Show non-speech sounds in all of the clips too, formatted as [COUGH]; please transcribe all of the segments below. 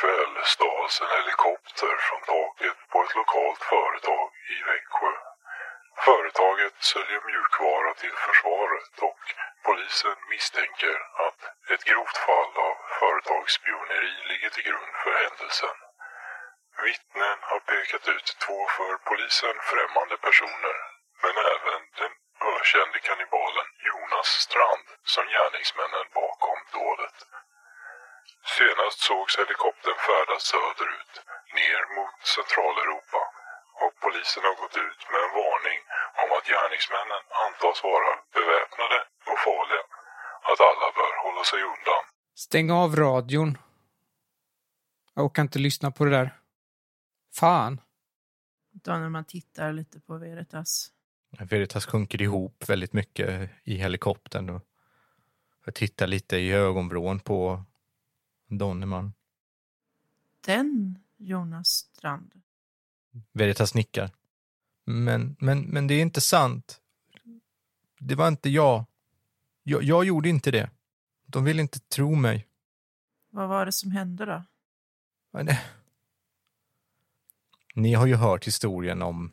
kväll stals en helikopter från taket på ett lokalt företag i Växjö. Företaget säljer mjukvara till försvaret och polisen misstänker att ett grovt fall av företagsspioneri ligger till grund för händelsen. Vittnen har pekat ut två för polisen främmande personer men även den ökände kannibalen Jonas Strand som gärningsmännen bakom dådet. Senast sågs helikoptern färdas söderut, ner mot Centraleuropa och polisen har gått ut med en varning om att gärningsmännen antas vara beväpnade och farliga. Att alla bör hålla sig undan. Stäng av radion. Jag orkar inte lyssna på det där. Fan. Utan när man tittar lite på Veritas. Veritas sjunker ihop väldigt mycket i helikoptern och jag tittar lite i ögonvrån på Donnerman. Den Jonas Strand. Veritas nickar. Men, men, men det är inte sant. Det var inte jag. jag. Jag gjorde inte det. De vill inte tro mig. Vad var det som hände då? Men, eh. Ni har ju hört historien om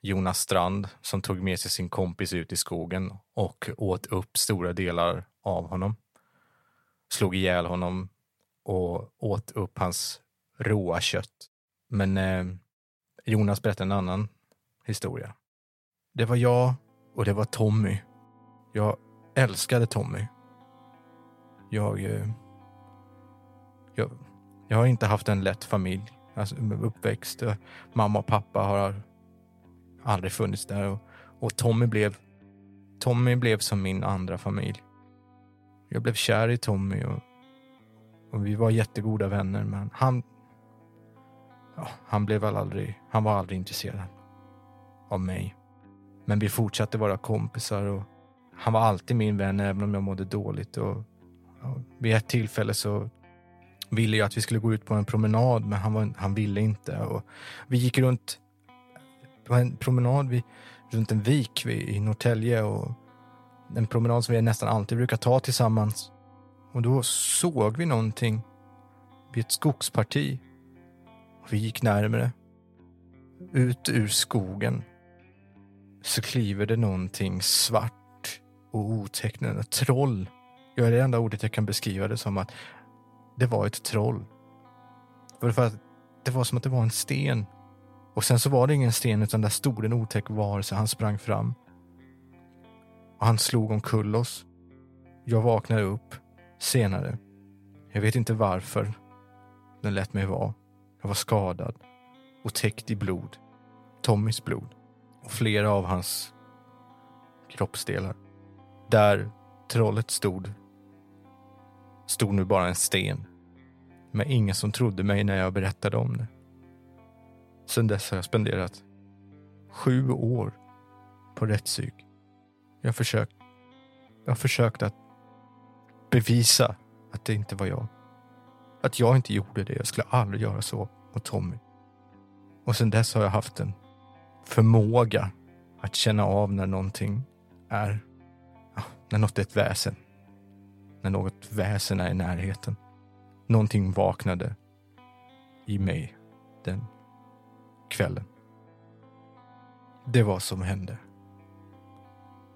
Jonas Strand som tog med sig sin kompis ut i skogen och åt upp stora delar av honom. Slog ihjäl honom och åt upp hans råa kött. Men eh, Jonas berättade en annan historia. Det var jag och det var Tommy. Jag älskade Tommy. Jag... Eh, jag, jag har inte haft en lätt familj. Alltså, uppväxt. eh, Mamma och pappa har aldrig funnits där. Och, och Tommy blev... Tommy blev som min andra familj. Jag blev kär i Tommy och, och vi var jättegoda vänner men han... Ja, han blev väl aldrig... Han var aldrig intresserad av mig. Men vi fortsatte vara kompisar och han var alltid min vän även om jag mådde dåligt. Och, ja, vid ett tillfälle så ville jag att vi skulle gå ut på en promenad men han, var, han ville inte. Och vi gick runt på en promenad vid, runt en vik vid, i Norrtälje och en promenad som vi nästan alltid brukar ta tillsammans. Och då såg vi någonting vid ett skogsparti. Och vi gick närmare. Ut ur skogen så kliver det någonting svart och otecknat. Ett troll. Ja, det är det enda ordet jag kan beskriva det som att det var ett troll. För för att det var som att det var en sten. Och sen så var det ingen sten utan där stod en otäck varelse. Han sprang fram. Och han slog omkull oss. Jag vaknade upp senare. Jag vet inte varför. Den lät mig vara. Jag var skadad och täckt i blod. Tommys blod. Och flera av hans kroppsdelar. Där trollet stod stod nu bara en sten. Men ingen som trodde mig när jag berättade om det. Sen dess har jag spenderat sju år på rättspsyk. Jag har försökt, jag har försökt att bevisa att det inte var jag. Att jag inte gjorde det. Jag skulle aldrig göra så mot Tommy. Och sen dess har jag haft en förmåga att känna av när någonting är, ja, när något är ett väsen. När något väsen är i närheten. Någonting vaknade i mig den kvällen. Det var som hände.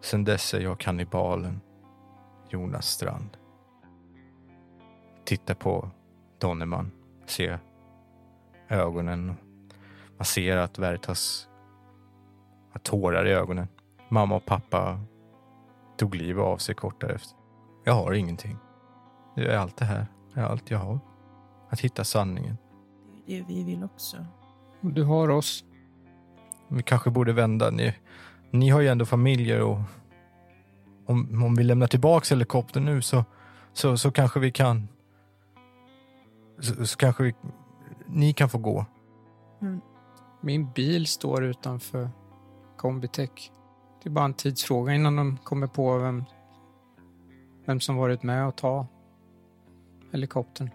Sen dess är jag kannibalen Jonas Strand. Titta på Donnerman, se ögonen. Man ser att Veritas har tårar i ögonen. Mamma och pappa tog livet av sig kort därefter. Jag har ingenting. Det är allt det här. Det är allt jag har. Att hitta sanningen. Det är det vi vill också. Och Du har oss. Vi kanske borde vända. Ni, ni har ju ändå familjer och om, om vi lämnar tillbaks helikoptern nu så, så, så kanske vi kan... Så, så kanske vi, ni kan få gå. Min bil står utanför Combitech. Det är bara en tidsfråga innan de kommer på vem, vem som varit med och ta helikoptern.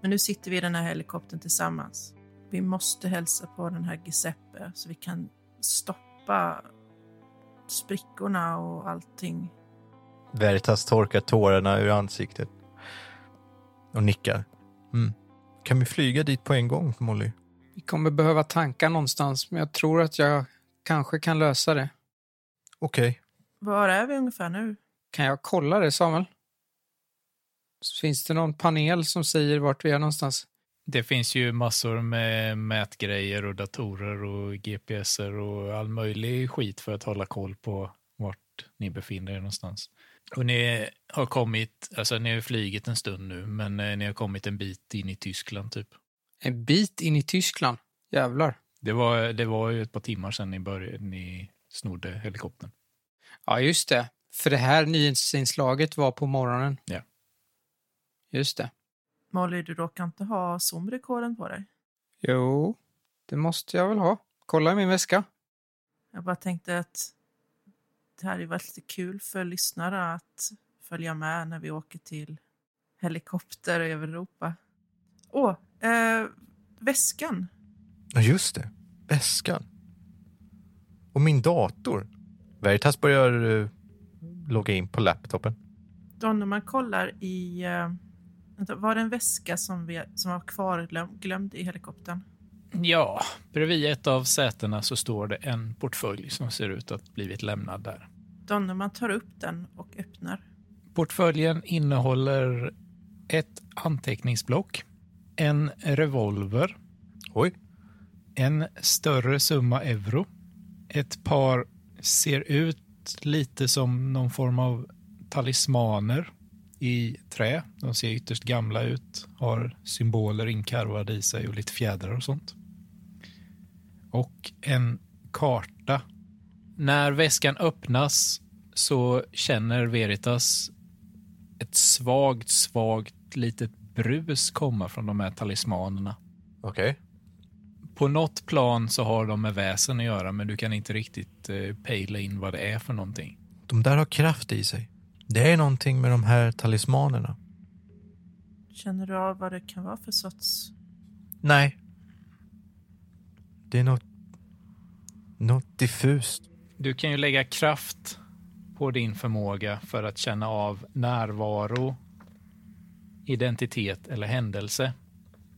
Men nu sitter vi i den här helikoptern tillsammans. Vi måste hälsa på den här Giuseppe så vi kan stoppa sprickorna och allting. Veritas torkar tårarna ur ansiktet och nickar. Mm. Kan vi flyga dit på en gång, Molly? Vi kommer behöva tanka någonstans, men jag tror att jag kanske kan lösa det. Okej. Var är vi ungefär nu? Kan jag kolla det, Samuel? Finns det någon panel som säger vart vi är någonstans? Det finns ju massor med mätgrejer och datorer och GPSer och all möjlig skit för att hålla koll på vart ni befinner er någonstans. Och ni har kommit, alltså ni har flugit en stund nu, men eh, ni har kommit en bit in i Tyskland typ. En bit in i Tyskland. Jävlar. Det var, det var ju ett par timmar sedan ni, började, ni snodde helikoptern. Ja, just det. För det här nyhetsinslaget var på morgonen. Ja. Just det. Molly, du råkar inte ha Zoom-rekorden på dig? Jo, det måste jag väl ha. Kolla i min väska. Jag bara tänkte att det hade ju varit lite kul för lyssnare att följa med när vi åker till helikopter över Europa. Åh, eh, väskan. Ja, just det. Väskan. Och min dator. Veritas börjar eh, logga in på laptopen. Don, när man kollar i... Eh, vänta, var det en väska som, vi, som var kvar glöm, glömd i helikoptern? Ja, bredvid ett av sätena så står det en portfölj som ser ut att blivit lämnad där. Don, när man tar upp den och öppnar. Portföljen innehåller ett anteckningsblock, en revolver, Oj. en större summa euro, ett par ser ut lite som någon form av talismaner i trä. De ser ytterst gamla ut, har symboler inkarvade i sig och lite fjädrar och sånt. Och en karta. När väskan öppnas så känner Veritas ett svagt, svagt litet brus komma från de här talismanerna Okej. på något plan så har de med väsen att göra, men du kan inte riktigt eh, pejla in vad det är för någonting. De där har kraft i sig. Det är någonting med de här talismanerna. Känner du av vad det kan vara för sorts... Nej. Det är något... Något diffust. Du kan ju lägga kraft på din förmåga för att känna av närvaro, identitet eller händelse.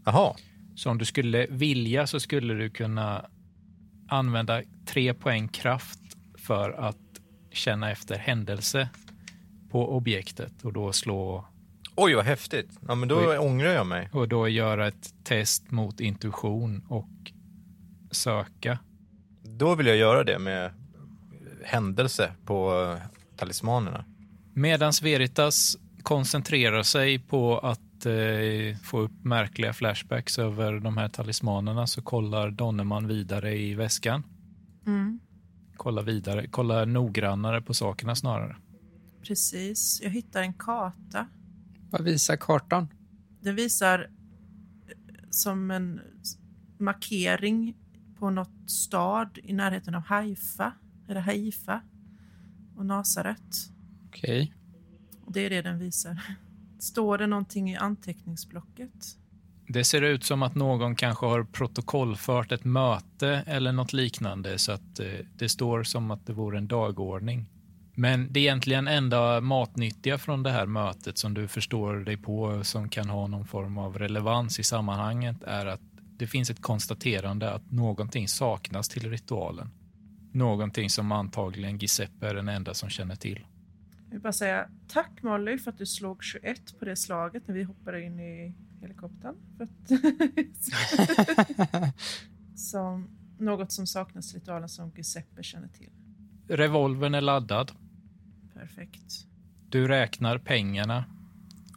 Jaha. Så om du skulle vilja så skulle du kunna använda tre poäng kraft för att känna efter händelse på objektet och då slå Oj, vad häftigt. Ja, men då Oj. ångrar jag mig. Och då göra ett test mot intuition och söka. Då vill jag göra det med händelse på eh, talismanerna. Medan Veritas koncentrerar sig på att eh, få upp märkliga flashbacks över de här talismanerna så kollar Donnerman vidare i väskan. Mm. Kollar vidare, kollar noggrannare på sakerna snarare. Precis. Jag hittar en karta. Vad visar kartan? Den visar eh, som en s- markering på något stad i närheten av Haifa, eller Haifa och Nasaret. Okej. Och Det är det den visar. [LAUGHS] Står det någonting i anteckningsblocket? Det ser ut som att någon kanske har protokollfört ett möte eller något liknande så att eh, det står som att det vore en dagordning. Men det är egentligen enda matnyttiga från det här mötet som du förstår dig på som kan ha någon form av relevans i sammanhanget är att det finns ett konstaterande att någonting saknas till ritualen. Någonting som antagligen Giuseppe är den enda som känner till. Jag vill bara säga tack Molly för att du slog 21 på det slaget när vi hoppade in i helikoptern. För att [LAUGHS] som, något som saknas i ritualen som Giuseppe känner till. Revolvern är laddad. Perfekt. Du räknar pengarna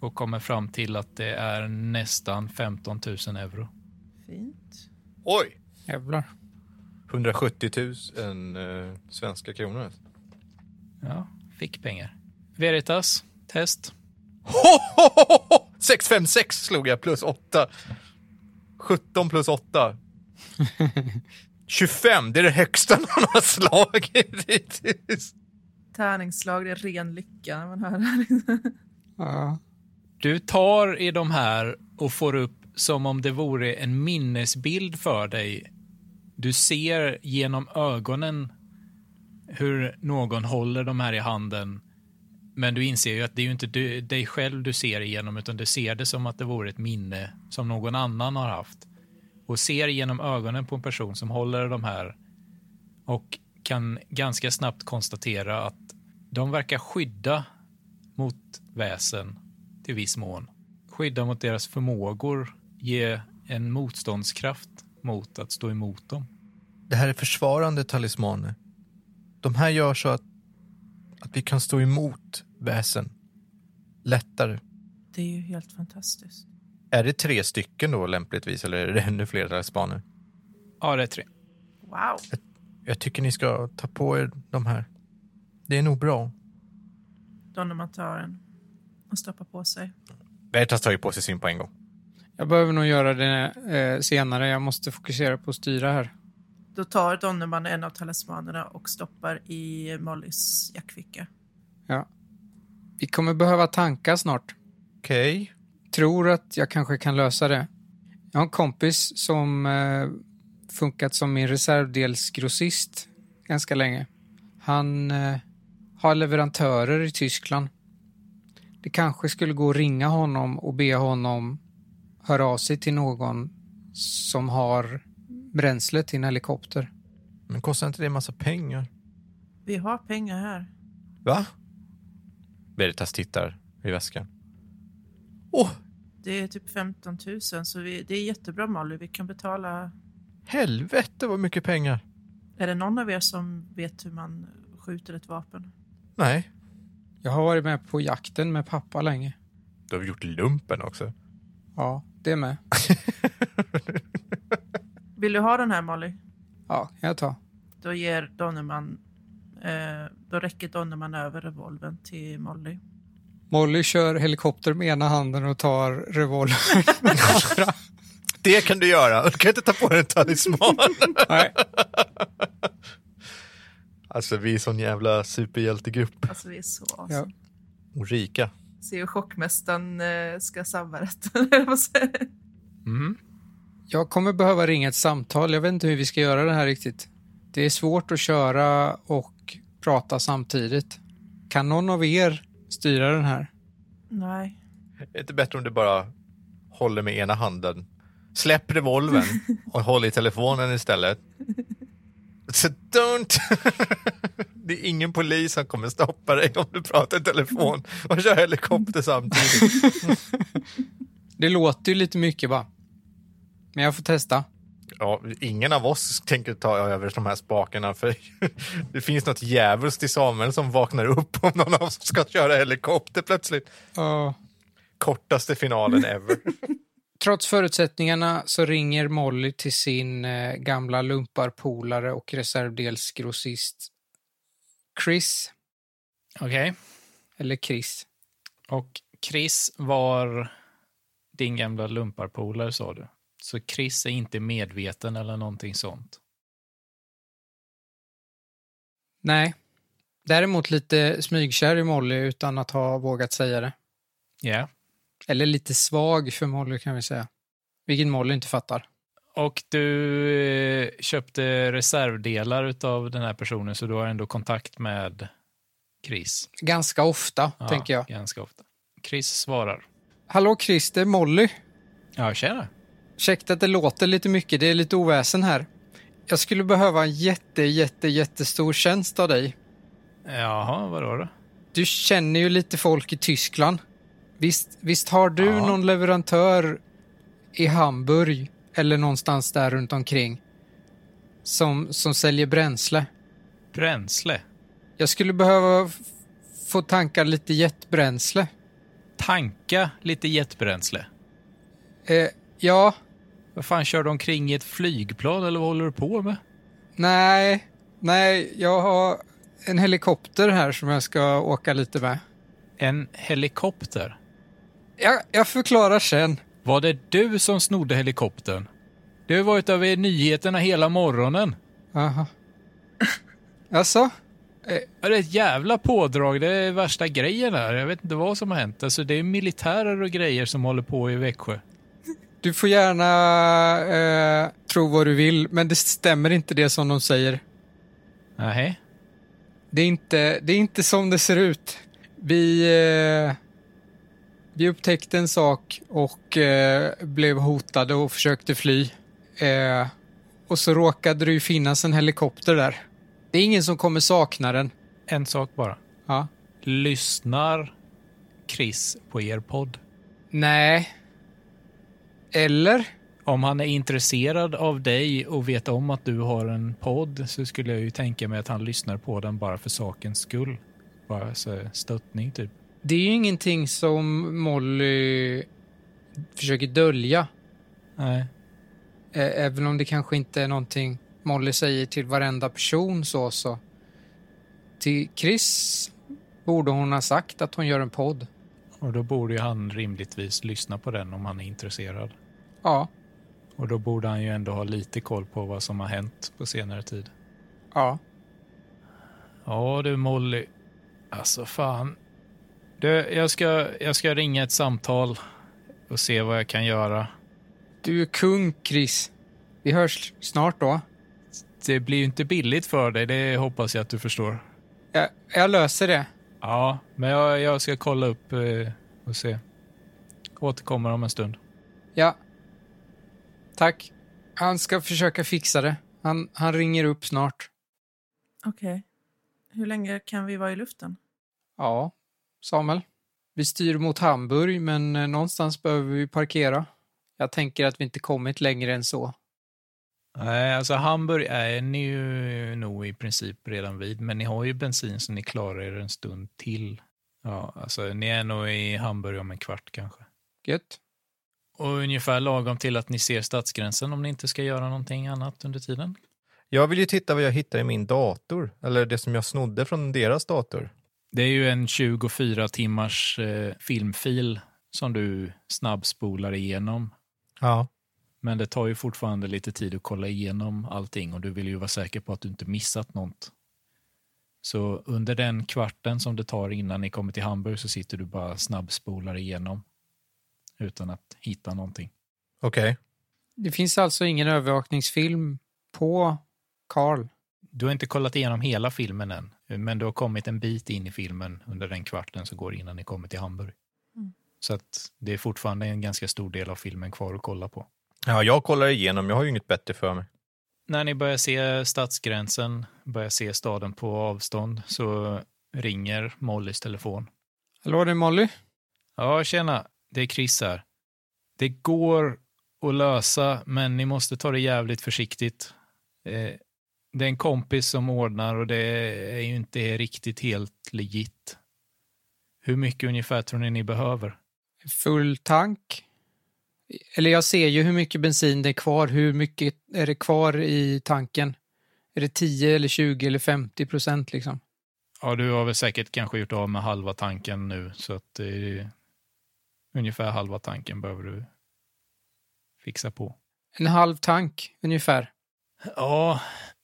och kommer fram till att det är nästan 15 000 euro. Fint. Oj! Jävlar. 170 000 eh, svenska kronor. Ja, fick pengar. Veritas, test. Ho, ho, ho, ho, ho! 656 slog jag, plus 8. 17 plus 8. 25, det är det högsta någon har slagit hittills. Tärningsslag, det är ren lycka när man hör det här. [LAUGHS] Ja. Du tar i de här och får upp som om det vore en minnesbild för dig. Du ser genom ögonen hur någon håller de här i handen Men du inser ju att det är ju inte du, dig själv du ser igenom, utan du ser det som att det vore ett minne som någon annan har haft. Och ser genom ögonen på en person som håller de här och kan ganska snabbt konstatera att de verkar skydda mot väsen till viss mån. Skydda mot deras förmågor, ge en motståndskraft mot att stå emot dem. Det här är försvarande talismaner. De här gör så att, att vi kan stå emot väsen lättare. Det är ju helt fantastiskt. Är det tre stycken då lämpligtvis eller är det ännu fler talismaner? Ja, det är tre. Wow. Jag tycker ni ska ta på er de här. Det är nog bra. Då när man tar en och stoppar på sig. Veritas tar ju på sig sin på en gång. Jag behöver nog göra det eh, senare. Jag måste fokusera på att styra här. Då tar Donnerman en av talismanerna och stoppar i Mollys jackficka. Vi kommer behöva tanka snart. Okej. tror att jag kanske kan lösa det. Jag har en kompis som eh, funkat som min reservdelsgrossist ganska länge. Han eh, har leverantörer i Tyskland. Det kanske skulle gå att ringa honom och be honom höra av sig till någon som har bränsle till en helikopter. Men kostar inte det en massa pengar? Vi har pengar här. Va? Veritas tittar i väskan. Åh, Det är typ 15 000 så vi, det är jättebra Molly. Vi kan betala. helvete vad mycket pengar. Är det någon av er som vet hur man skjuter ett vapen? Nej. Jag har varit med på jakten med pappa länge. Du har gjort lumpen också. Ja, det med. Vill du ha den här Molly? Ja, kan jag ta. Då ger Donnerman eh, då räcker Donnerman över revolven till Molly. Molly kör helikopter med ena handen och tar revolvern [LAUGHS] med den andra. Det kan du göra. Du kan inte ta på dig en [LAUGHS] talisman. Nej. alltså vi är sån jävla superhjältegrupp. Alltså vi är så awesome. Ja. Ulrika. Ser hur chockmästaren eh, ska sabba [LAUGHS] rätten. höll jag på att säga. Mm. Jag kommer behöva ringa ett samtal. Jag vet inte hur vi ska göra det här riktigt. Det är svårt att köra och prata samtidigt. Kan någon av er styra den här? Nej. Är det inte bättre om du bara håller med ena handen? Släpp revolven och håll i telefonen istället. Så don't... [LAUGHS] Det är ingen polis som kommer stoppa dig om du pratar i telefon och kör helikopter samtidigt. Det låter ju lite mycket va? Men jag får testa. Ja, ingen av oss tänker ta över de här spakarna för [LAUGHS] det finns något djävulskt i Samuel som vaknar upp om någon av oss ska köra helikopter plötsligt. Ja. Kortaste finalen ever. Trots förutsättningarna så ringer Molly till sin eh, gamla lumparpolare och reservdelsgrossist Chris, Okej. eller Chris. Och Chris var din gamla lumparpolare, sa du. Så Chris är inte medveten eller någonting sånt. Nej. Däremot lite smygkär i Molly utan att ha vågat säga det. Ja. Eller lite svag för Molly kan vi säga. Vilket Molly inte fattar. Och du eh, köpte reservdelar av den här personen, så du har ändå kontakt med Chris. Ganska ofta, Ja, tänker jag. Ganska ofta. Chris svarar. Hallå Chris, det är Molly. Ja, tjena. Ursäkta att det låter lite mycket, det är lite oväsen här. Jag skulle behöva en jätte, jätte, jättestor tjänst av dig. Jaha, vadå då? Du känner ju lite folk i Tyskland. Visst, visst har du Ja. någon leverantör i Hamburg eller någonstans där runt omkring som, som säljer bränsle? Bränsle. Jag skulle behöva f- få tanka lite jetbränsle. Tanka lite jetbränsle. Eh, ja, Vad fan, kör du omkring i ett flygplan eller vad håller du på med? nej, nej, jag har en helikopter här som jag ska åka lite med. En helikopter. Jag, jag förklarar sen. Var det du som snodde helikoptern? Du har varit över i nyheterna hela morgonen. Aha. Alltså? Ja, Det är ett jävla pådrag. Det är värsta grejen här. Jag vet inte vad som har hänt. Alltså, det är militärer och grejer som håller på i Växjö. Du får gärna eh, tro vad du vill, men det stämmer inte det som de säger. Nej. Det är inte, det är inte som det ser ut. Vi, eh, vi upptäckte en sak och eh, blev hotade och försökte fly. Eh, och så råkade det ju finnas en helikopter där. Det är ingen som kommer sakna den. En sak bara. Ja. Lyssnar Chris på er podd? Nej. Eller? Om han är intresserad av dig och vet om att du har en podd så skulle jag ju tänka mig att han lyssnar på den bara för sakens skull. Bara så stöttning typ. Det är ju ingenting som Molly försöker dölja. Nej. Eh, även om det kanske inte är någonting Molly säger till varenda person så så. Till Chris borde hon ha sagt att hon gör en podd. Och då borde ju han rimligtvis lyssna på den om han är intresserad. Ja, Och då borde han ju ändå ha lite koll på vad som har hänt på senare tid. ja. Ja du Molly. Alltså fan. Du, jag ska, jag ska ringa ett samtal och se vad jag kan göra. Du är kung, Chris. Vi hörs snart då. Det blir ju inte billigt för dig, det hoppas jag att du förstår. Jag, jag löser det. Ja, men jag, jag ska kolla upp eh, och se. Återkommer om en stund. Ja. Tack. Han ska försöka fixa det. Han, han ringer upp snart. Okej. Hur länge kan vi vara i luften? Ja, Samuel. Vi styr mot Hamburg, men eh, någonstans behöver vi parkera. Jag tänker att vi inte kommit längre än så. Nej, alltså Hamburg är ni ju nog i princip redan vid, men ni har ju bensin så ni klarar er en stund till. Ja, alltså ni är nog i Hamburg om en kvart kanske. Gött. Och ungefär lagom till att ni ser stadsgränsen om ni inte ska göra någonting annat under tiden. [LAUGHS] Jag vill ju titta vad jag hittar i min dator, eller det som jag snodde från deras dator. Det är ju en 24 timmars eh, filmfil som du snabbspolar igenom. Ja. Men det tar ju fortfarande lite tid att kolla igenom allting och du vill ju vara säker på att du inte missat något. Så under den kvarten som det tar innan ni kommer till Hamburg så sitter du bara snabbspolar igenom utan att hitta någonting. Okej. Det finns alltså ingen övervakningsfilm på Karl. Du har inte kollat igenom hela filmen än, men du har kommit en bit in i filmen under den kvarten som går innan ni kommer till Hamburg. Mm. Så att det är fortfarande en ganska stor del av filmen kvar att kolla på. Ja, jag kollar igenom. Jag har ju inget bättre för mig. När ni börjar se stadsgränsen, börjar se staden på avstånd, så ringer Mollys telefon. Hallå, det är Molly. Ja, tjena, det är Chris här. Det går att lösa, men ni måste ta det jävligt försiktigt. Eh, Det är en kompis som ordnar och det är ju inte riktigt helt legit. Hur mycket ungefär tror ni ni behöver? Full tank. Eller jag ser ju hur mycket bensin det är kvar. Hur mycket är det kvar i tanken? Är det 10 eller 20 eller 50 procent liksom? Ja, du har väl säkert kanske gjort av med halva tanken nu, så att eh, ungefär halva tanken behöver du fixa på. En halv tank ungefär. Ja,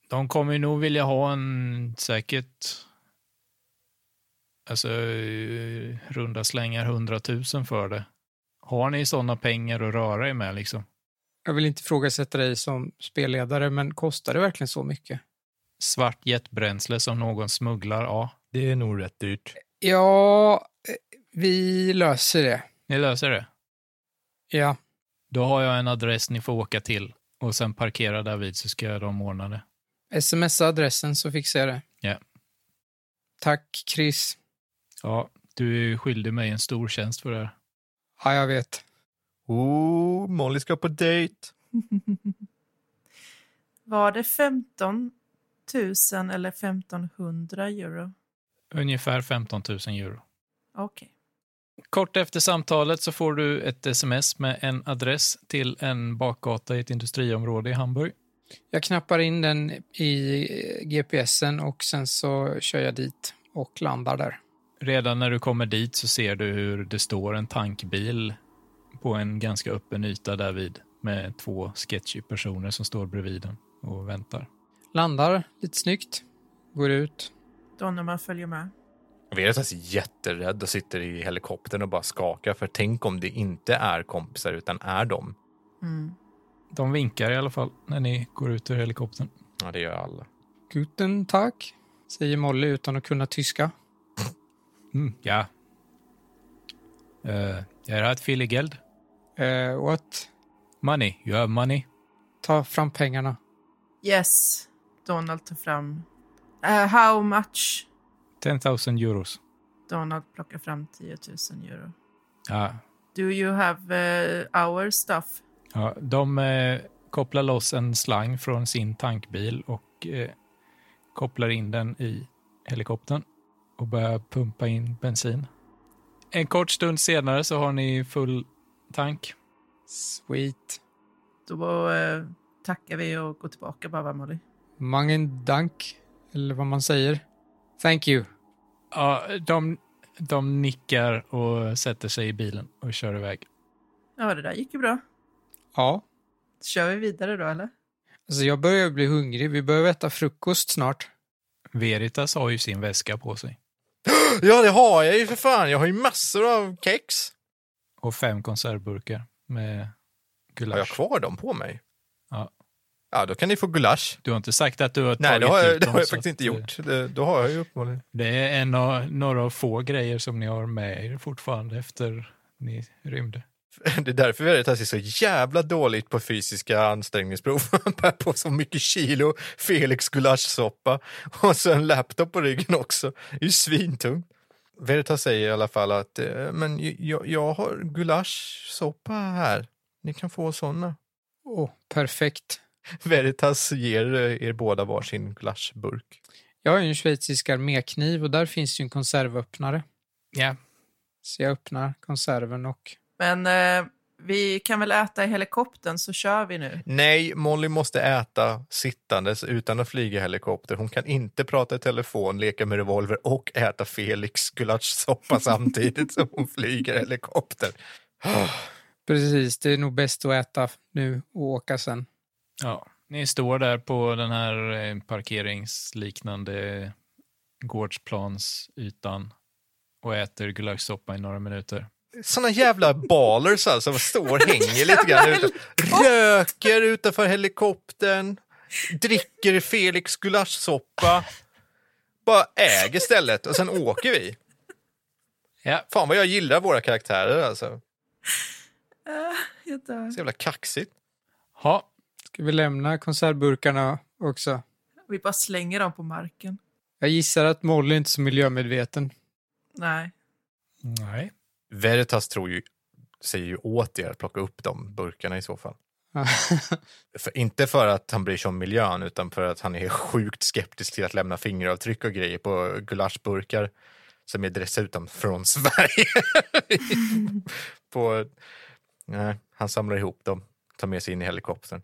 de kommer ju nog vilja ha en säkert alltså eh, runda slängar 100 000 för det. Har ni sådana pengar att röra er med liksom? Jag vill inte ifrågasätta dig som spelledare, men kostar det verkligen så mycket? Svart jetbränsle som någon smugglar, ja. Det är nog rätt dyrt. Ja, eh, vi löser det. Ni löser det. Ja, Då har jag en adress ni får åka till och sen parkera där vid så ska de ordna det. smsa adressen så fixar jag det. Ja. Tack, Chris. Ja, du är ju skyldig mig en stor tjänst för det här. Ja, jag vet. Oh, Molly ska på dejt. Var det 15 000 eller 1500 euro? Ungefär 15 000 euro. Okej. Kort efter samtalet så får du ett sms med en adress till en bakgata i ett industriområde i Hamburg. Jag knappar in den i eh, GPSen och sen så kör jag dit och landar där. Redan när du kommer dit så ser du hur det står en tankbil på en ganska öppen yta därvid med två sketchy personer som står bredvid den och väntar. Landar lite snyggt, går ut. Då när man följer med. Veritas är jätterädd och sitter i helikoptern och bara skakar. För tänk om det inte är kompisar utan är dem. Mm. De vinkar i alla fall när ni går ut ur helikoptern. Ja, det gör alla. Guten Tag, säger Molly utan att kunna tyska. Hm, ja. Äh, er hat viel Geld. Eh, och att Money. You have money. ta fram pengarna. Yes. Donald tar fram. Eh, how much? 10,000 euros. Donald plockar fram 10 000 euro. Ja. Do you have eh, our stuff? ja de eh, kopplar loss en slang från sin tankbil och eh, kopplar in den i helikoptern och börjar pumpa in bensin. En kort stund senare så har ni full tank. Sweet. Då eh, tackar vi och går tillbaka bara, Molly. Mangen dank, eller vad man säger. Thank you. Ja, de, de nickar och sätter sig i bilen och kör iväg. Ja, det där gick ju bra. Ja. Kör vi vidare då, eller? Alltså jag börjar bli hungrig. Vi behöver äta frukost snart. Veritas har ju sin väska på sig Ja, det har jag ju för fan. Jag har ju massor av kex. och fem konservburkar Har med jag gulasch. kvar dem på mig? Ja. Ja, då kan ni få gulasch. Du har inte sagt att du har Nej, tagit det har jag, ut det dem, har jag så faktiskt inte att, eh, gjort. Det, då har jag ju uppenbarligen. [LAUGHS] Det är en av, några av få grejer som ni har med er fortfarande efter ni rymde. Det är därför Veritas är så jävla dåligt på fysiska ansträngningsprov. [LAUGHS] Han bär på så mycket kilo Felix gulaschsoppa och så en laptop på ryggen också. Det är ju svintungt. Veritas säger i alla fall att eh, men j- jag, jag har gulaschsoppa här. Ni kan få såna. Åh, perfekt. [LAUGHS] Veritas ger eh, er båda varsin gulaschburk. Jag har ju en schweizisk armékniv och där finns ju en konservöppnare. Ja. Så jag öppnar konserven och... Men eh, vi kan väl äta i helikoptern så kör vi nu. Nej, Molly måste äta sittandes utan att flyga helikopter. Hon kan inte prata i telefon, leka med revolver och äta Felix gulaschsoppa samtidigt som hon flyger helikopter. Precis, det är nog bäst att äta nu och åka sen. ja. Ni står där på den här eh, parkeringsliknande gårdsplansytan och äter gulaschsoppa i några minuter. Såna jävla ballers alltså, som står och hänger lite grann ute. Röker utanför helikoptern, dricker Felix gulaschsoppa. Bara äger stället och sen åker vi. Ja. Fan vad jag gillar våra karaktärer alltså. Eh, jag dör. Så jävla kaxigt. Ha. Ska vi lämna konservburkarna också? Vi bara slänger dem på marken. Jag gissar att Molly är inte är så miljömedveten. [LAUGHS] Nej. Nej. Veritas tror ju, säger ju åt er att plocka upp de burkarna i så fall. För, inte för att han bryr sig om miljön utan för att han är sjukt skeptisk till att lämna fingeravtryck och grejer på gulaschburkar som är dessutom från [LAUGHS] Sverige. på, nej, han samlar ihop dem, tar med sig in i helikoptern.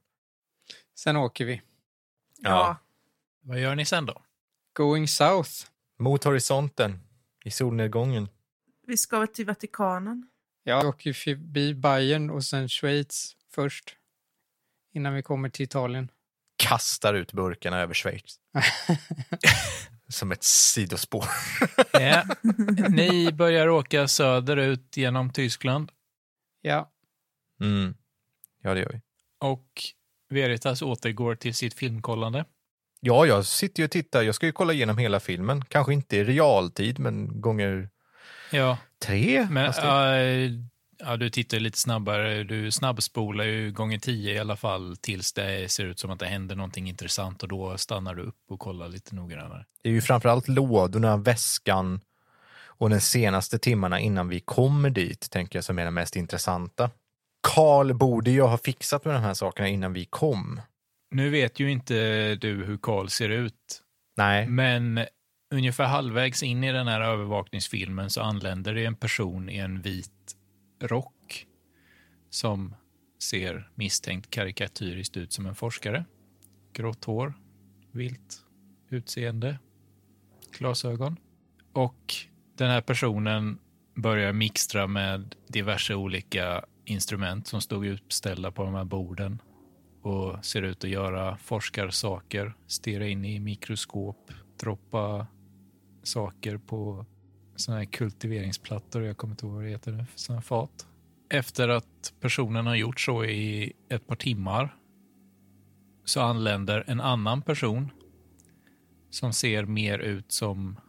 sen åker vi. Ja. Vad gör ni sen då? Going south. Mot horisonten, i solnedgången. Vi ska väl till Vatikanen. Jag åker ju förbi Bayern och sen Schweiz först. Innan vi kommer till Italien. Kastar ut burkarna över [LAUGHS] Schweiz. som ett sidospår. [LAUGHS] Ja. Ni börjar åka söderut genom Tyskland Ja, Mm. Ja, det gör vi. och Veritas återgår till sitt filmkollande. Ja, jag sitter ju och tittar. Jag ska ju kolla igenom hela filmen. Kanske inte i realtid, men gånger Ja, tre. men fast det- äh, ja, du tittar lite snabbare. Du snabbspolar ju gånger tio i alla fall tills det ser ut som att det händer någonting intressant och då stannar du upp och kollar lite noggrannare. Det är ju framförallt lådorna, väskan och den senaste timmarna innan vi kommer dit, tänker jag, som är den mest intressanta. Karl borde ju ha fixat med de här sakerna innan vi kom. Nu vet ju inte du hur Karl ser ut, Nej, men ungefär halvvägs in i den här övervakningsfilmen så anländer det en person i en vit rock som ser misstänkt karikatyriskt ut som en forskare. Grått hår, vilt utseende, glasögon. Och den här personen börjar mixtra med diverse olika instrument som stod utställda på de här borden och ser ut att göra forskarsaker, stirra in i mikroskop, droppa saker på såna här kultiveringsplattor, jag kommer inte ihåg vad det heter nu, för såna här fat. Efter att personen har gjort så i ett par timmar så anländer en annan person som ser mer ut som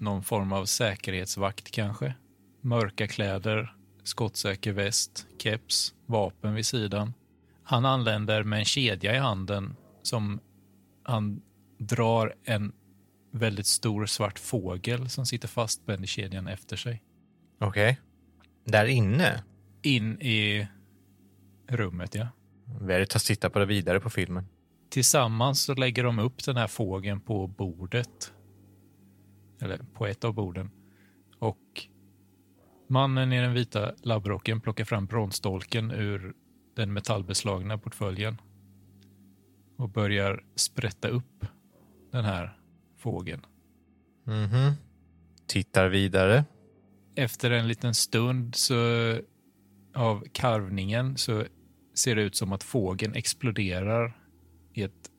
någon form av säkerhetsvakt kanske. Mörka kläder, skottsäker väst, keps, vapen vid sidan. Han anländer med en kedja i handen som han drar en väldigt stor svart fågel som sitter fastbänd i kedjan efter sig. Okej. Där inne? In i rummet, ja. Veritas tittar på det vidare på filmen. Tillsammans så lägger de upp den här fågeln på bordet. Eller på ett av borden. Och mannen i den vita labbrocken plockar fram bronsdolken ur den metallbeslagna portföljen och börjar sprätta upp den här fågeln. Mhm. Tittar vidare. Efter en liten stund så av karvningen så ser det ut som att fågeln exploderar i ett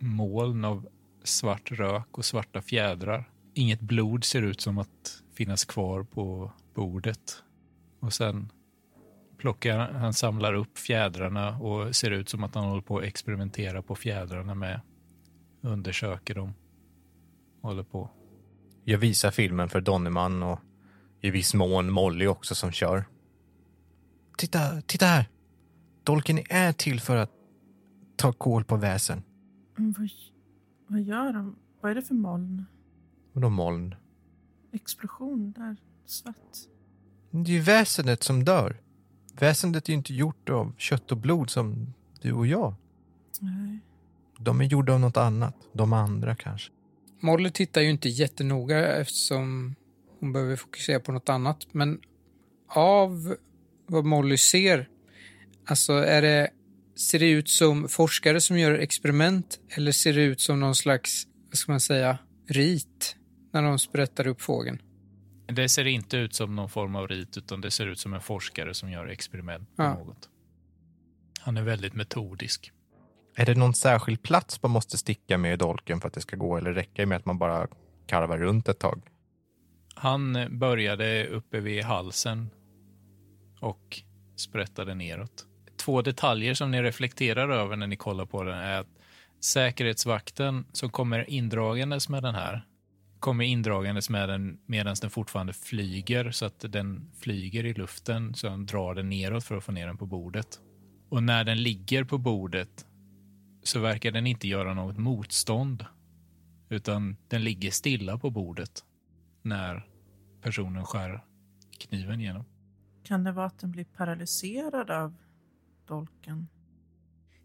moln av svart rök och svarta fjädrar. Inget blod ser ut som att finnas kvar på bordet. Och sen plockar han samlar upp fjädrarna och ser ut som att han håller på att experimentera på fjädrarna med. Undersöker dem. Håller på. Jag visar filmen för Donnerman och i viss mån Molly också som kör. Titta, titta här! Dolken är till för att ta koll på väsen. Men Mm, vad, vad gör de? Vad är det för moln? Och de moln. Explosion där. Svart. Det är ju väsendet som dör. Väsendet är ju inte gjort av kött och blod som du och jag. Nej. De är gjorda av något annat. De andra kanske. Molly tittar ju inte jättenoga eftersom hon behöver fokusera på något annat. Men av vad Molly ser, alltså är det, ser det ut som forskare som gör experiment eller ser det ut som någon slags, vad ska man säga, rit när de sprättar upp fågeln? Det ser inte ut som någon form av rit, utan det ser ut som en forskare som gör experiment med Ja. något. Han är väldigt metodisk. Är det någon särskild plats man måste sticka med i dolken för att det ska gå eller räcker det med att man bara karvar runt ett tag? Han eh, började uppe vid halsen och sprättade neråt. Två detaljer som ni reflekterar över när ni kollar på den är att säkerhetsvakten som kommer indragandes med den här kommer indragandes med den medan den fortfarande flyger så att den flyger i luften så han drar den neråt för att få ner den på bordet. Och när den ligger på bordet så verkar den inte göra något motstånd utan den ligger stilla på bordet när personen skär kniven genom. Kan det vara att den blir paralyserad av dolken?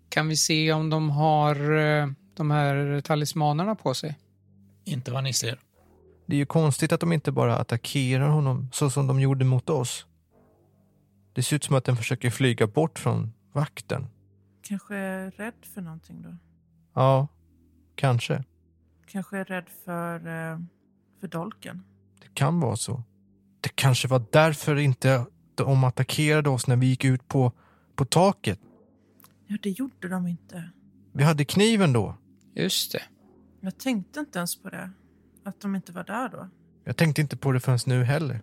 Kan vi se om de har eh, de här talismanerna på sig? Inte vad ni ser. Det är ju konstigt att de inte bara attackerar honom så som de gjorde mot oss. Det ser ut som att den försöker flyga bort från vakten. Kanske är rädd för någonting då? Ja, kanske. Kanske är rädd för, eh, för dolken? Det kan vara så. Det kanske var därför inte de attackerade oss när vi gick ut på, på taket. Ja, det gjorde de inte. Vi hade kniven då. Just det. Jag tänkte inte ens på det. Att de inte var där då. Jag tänkte inte på det förrän nu heller.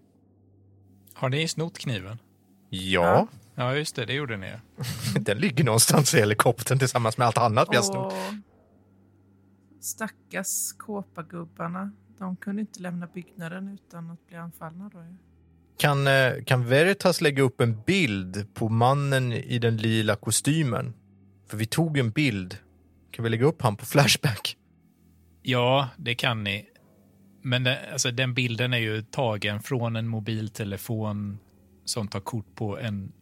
Har ni snott kniven? Ja, [LAUGHS] Ja, just det. Det gjorde ni. den ligger någonstans i helikoptern tillsammans med allt annat vi har snott. Och stackars kåpagubbarna. De kunde inte lämna byggnaden utan att bli anfallna då ju. Kan, eh, kan Veritas lägga upp en bild på mannen i den lila kostymen? För vi tog en bild. Kan vi lägga upp han på Flashback? Ja, det kan ni. Men det, alltså, den bilden är ju tagen från en mobiltelefon som tar kort på en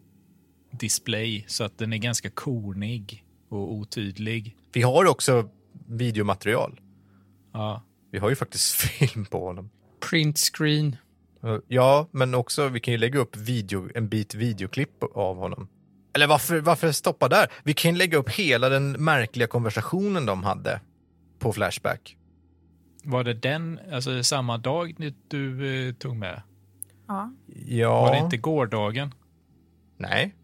display, så att den är ganska konig och otydlig. Vi har också videomaterial. Ja, Vi har ju faktiskt [LAUGHS] film på honom. Print screen. Eh, Ja, men också vi kan ju lägga upp video, en bit videoklipp av honom. Eller varför, varför stoppa där? Vi kan ju lägga upp hela den märkliga konversationen de hade på Flashback. var det den, alltså samma dag ni- du eh, tog med? Ja, Ja. Var det inte gårdagen? Nej.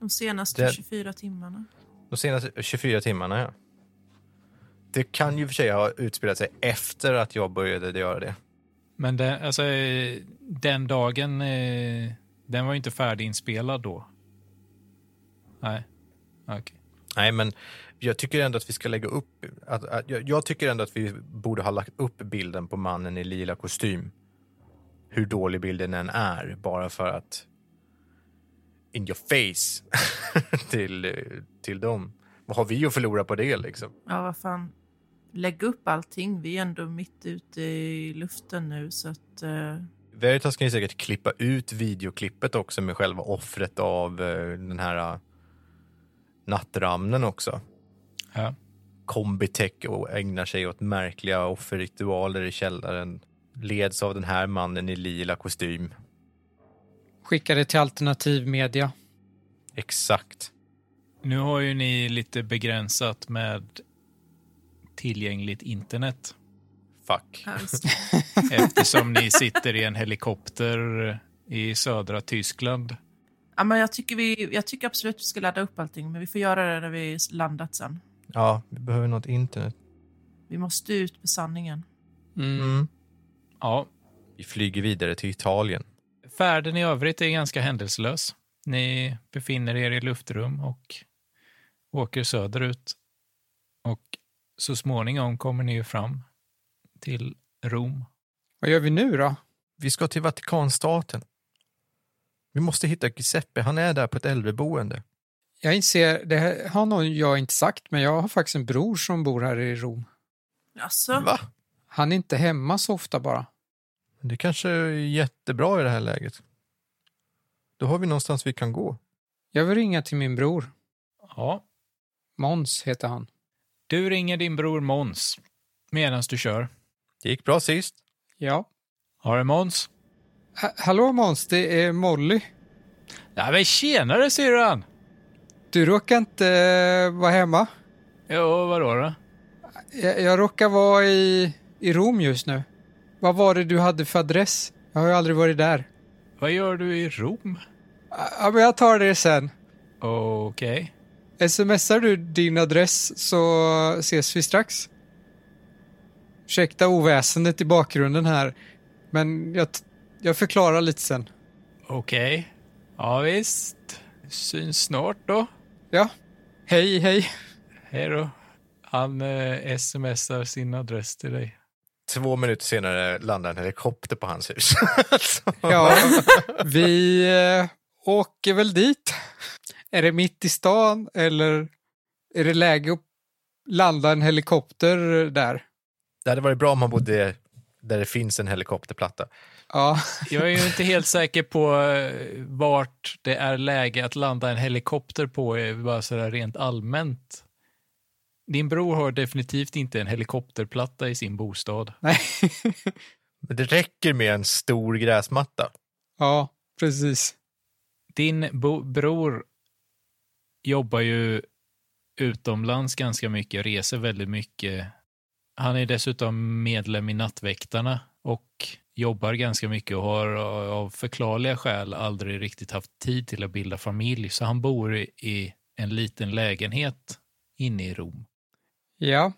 de senaste Det- 24 timmarna. De senaste 24 timmarna, ja. Det kan ju för sig ha utspelat sig efter att jag började göra det. Men den, alltså, eh, den dagen, eh, den var ju inte färdiginspelad då. Nej, okej. Nej, men jag tycker ändå att vi ska lägga upp... Att, att, jag, jag tycker ändå att vi borde ha lagt upp bilden på mannen i lila kostym hur dålig bilden än är, bara för att in your face [LAUGHS] till, eh, till dem. Vad har vi att förlora på det liksom? Ja, vad fan. Lägg upp allting. Vi är ändå mitt ute i luften nu så att... eh, Veritas kan ju säkert klippa ut videoklippet också med själva offret av eh, den här eh, nattramnen också. Ja. Combitech och ägnar sig åt märkliga offerritualer i källaren. Leds av den här mannen i lila kostym. Skicka det till alternativ media. Exakt. Nu har ju ni lite begränsat med tillgängligt internet Fuck. här- [LAUGHS] eftersom ni sitter i en helikopter i södra Tyskland. ja, men jag, tycker vi, jag tycker absolut vi ska ladda upp allting, men vi får göra det när vi landat sen. Ja, vi behöver något internet. Vi måste ut med sanningen. Mm. Mm. Ja, Vi flyger vidare till Italien. Färden i övrigt är ganska händelselös. Ni befinner er i luftrum och åker söderut. Och så småningom kommer ni ju fram till Rom. Vad gör vi nu då? Vi ska till Vatikanstaten. Vi måste hitta Giuseppe. Han är där på ett äldreboende. Jag inser, det här har nog jag inte sagt, men jag har faktiskt en bror som bor här i Rom. Alltså, Va? Han är inte hemma så ofta bara. Det kanske är jättebra i det här läget. Då har vi någonstans vi kan gå. Jag vill ringa till min bror. Ja, Måns heter han. du ringer din bror Mons medan du kör. Det gick bra sist. Ja. Har du Mons? Ha- Hallå Måns, det är Molly. Ja, men tjenare syrran! Du råkar inte eh, vara hemma? Jo, vadå då? Jag, jag råkar vara i, i Rom just nu. Vad var det du hade för adress? Jag har ju aldrig varit där. Vad gör du i Rom? Ja, men jag tar det sen. Okej. Smsar du din adress så ses vi strax. Ursäkta oväsendet i bakgrunden här, men jag, t- jag förklarar lite sen. Okej. Ja, visst. Syns snart då. Ja, hej hej. Hej då. Han eh, smsar sin adress till dig. Två minuter senare landar en helikopter på hans hus. [LAUGHS] [LAUGHS] Ja, vi eh, åker väl dit. Är det mitt i stan eller är det läge att landa en helikopter där? Det hade varit bra om han bodde där det finns en helikopterplatta. Ja, [LAUGHS] Jag är ju inte helt säker på eh, vart det är läge att landa en helikopter på, eh, bara sådär rent allmänt. Din bror har definitivt inte en helikopterplatta i sin bostad. nej. Men det räcker med en stor gräsmatta. Ja, precis. Din bo- bror jobbar ju utomlands ganska mycket, reser väldigt mycket. Han är dessutom medlem i Nattväktarna och jobbar ganska mycket och har eh, av förklarliga skäl aldrig riktigt haft tid till att bilda familj, så han bor i- i en liten lägenhet inne i Rom. Ja,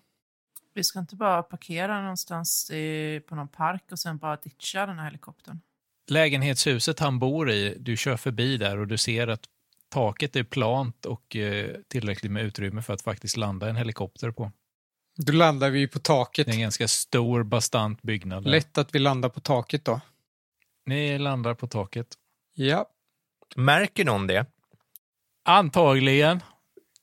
vi ska inte bara parkera någonstans eh, på någon park och sen bara ditcha den här helikoptern. Lägenhetshuset han bor i, du kör förbi där och du ser att taket är plant och eh, tillräckligt med utrymme för att faktiskt landa en helikopter på. då landar vi ju på taket. Det är en ganska stor, bastant byggnad. där. Lätt att vi landar på taket då. Ni landar på taket. Ja, Märker någon det? Antagligen,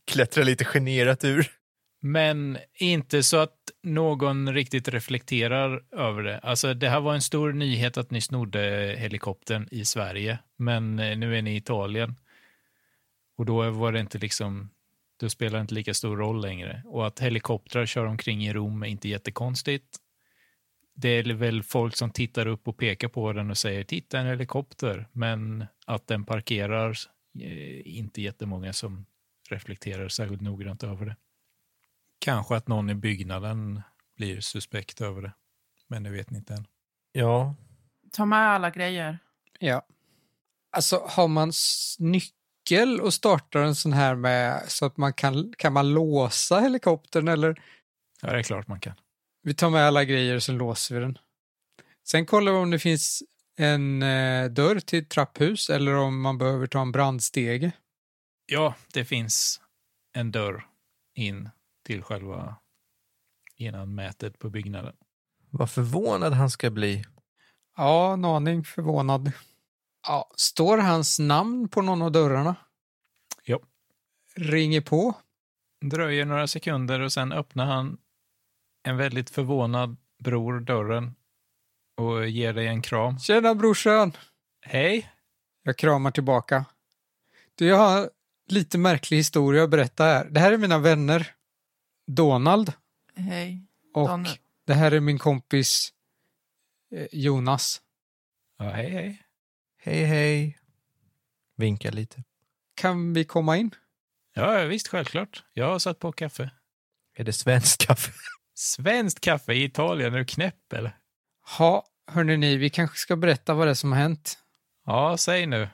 Klättrar lite generat ur. men inte så att någon riktigt reflekterar över det. Alltså, det här var en stor nyhet att ni snodde helikoptern i Sverige, men eh, nu är ni i Italien. Och då var det inte liksom, då spelar det inte lika stor roll längre. Och att helikoptrar kör omkring i Rom är inte jättekonstigt. Det är väl folk som tittar upp och pekar på den och säger titta en helikopter, men att den parkerar, eh, inte jättemånga som reflekterar särskilt noggrant över det. Kanske att någon i byggnaden blir suspekt över det, men det vet ni inte än. Ja. Ta med alla grejer. ja. Alltså har man s- nyckel och startar en sån här med så att man kan, kan man låsa helikoptern eller Ja, det är klart man kan. vi tar med alla grejer så låser vi den. Sen kollar vi om det finns en eh, dörr till ett trapphus eller om man behöver ta en brandstege. Ja, det finns en dörr in till själva innanmätet på byggnaden. Vad förvånad han ska bli. Ja, en aning förvånad. Ja, står hans namn på någon av dörrarna? Ja. Ringer på? dröjer några sekunder och sen öppnar han en väldigt förvånad bror dörren och ger dig en kram. Tjena brorsan! Hej! Jag kramar tillbaka. Du, jag har lite märklig historia att berätta här. Det här är mina vänner. Donald Hej. och Donald. det här är min kompis eh, Jonas. Ja, hej, hej. Hej, hej. Vinka lite. Kan vi komma in? Ja, ja, visst, självklart. Jag har satt på kaffe. Är det svenskt kaffe? Svenskt kaffe i Italien, är du knäpp eller? Ja, hörni ni, vi kanske ska berätta vad det är som har hänt. Ja, säg nu.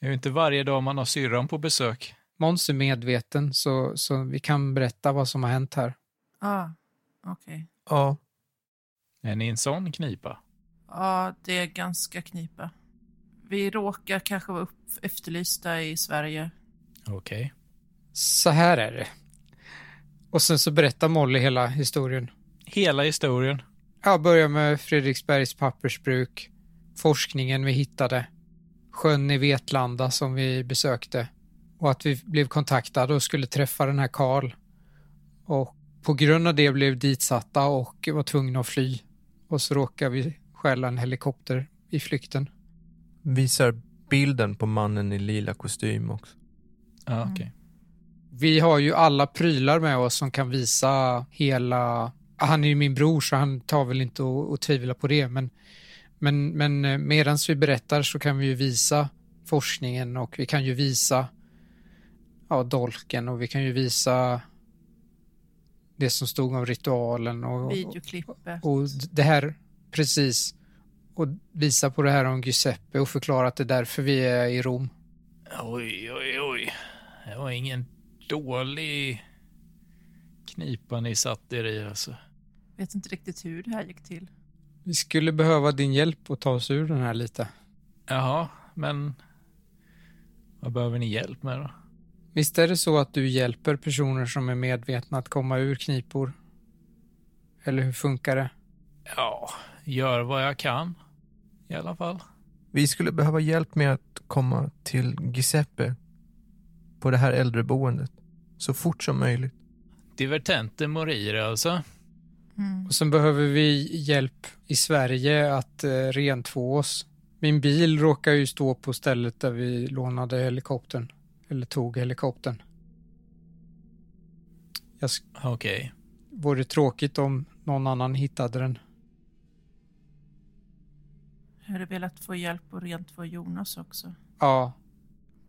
Det är ju inte varje dag man har syrran på besök. Måns är medveten så, så vi kan berätta vad som har hänt här. Ah, okej. [LAUGHS] Ja. Är ni i en sån knipa? Ja, det är ganska knipa. Vi råkar kanske vara upp efterlysta i Sverige. Okej. Så här är det. Och sen så berättar Molly hela historien. Hela historien. Jag börjar med Fredriksbergs pappersbruk, forskningen vi hittade, sjön i Vetlanda som vi besökte och att vi blev kontaktade och skulle träffa den här Karl. Och på grund av det blev ditsatta och var tvungna att fly. Och så råkade vi stjäla en helikopter i flykten. Visar bilden på mannen i lila kostym också. Ja, Mm. okej. Vi har ju alla prylar med oss som kan visa hela... Han är ju min bror så han tar väl inte och, och tvivla på det men, men, men medan vi berättar så kan vi ju visa forskningen och vi kan ju visa ja, dolken och vi kan ju visa det som stod om ritualen och, och, Videoklippet. och det här precis och visa på det här om Giuseppe och förklara att det är därför vi är i Rom. Oj, oj, oj. Det var ingen dålig knipa ni satt er i alltså. Vet inte riktigt hur det här gick till. Vi skulle behöva din hjälp att ta oss ur den här lite. Jaha, men vad behöver ni hjälp med då? Visst är det så att du hjälper personer som är medvetna att komma ur knipor? Eller hur funkar det? Ja, gör vad jag kan i alla fall. Vi skulle behöva hjälp med att komma till Giuseppe på det här äldreboendet så fort som möjligt. Divertente morire alltså. Mm. Och sen behöver vi hjälp i Sverige att eh, rentvå oss. Min bil råkar ju stå på stället där vi lånade helikoptern. Eller tog helikoptern. Jag sk- Okej. vore tråkigt om någon annan hittade den. Jag hade velat få hjälp och rent för Jonas också. Ja,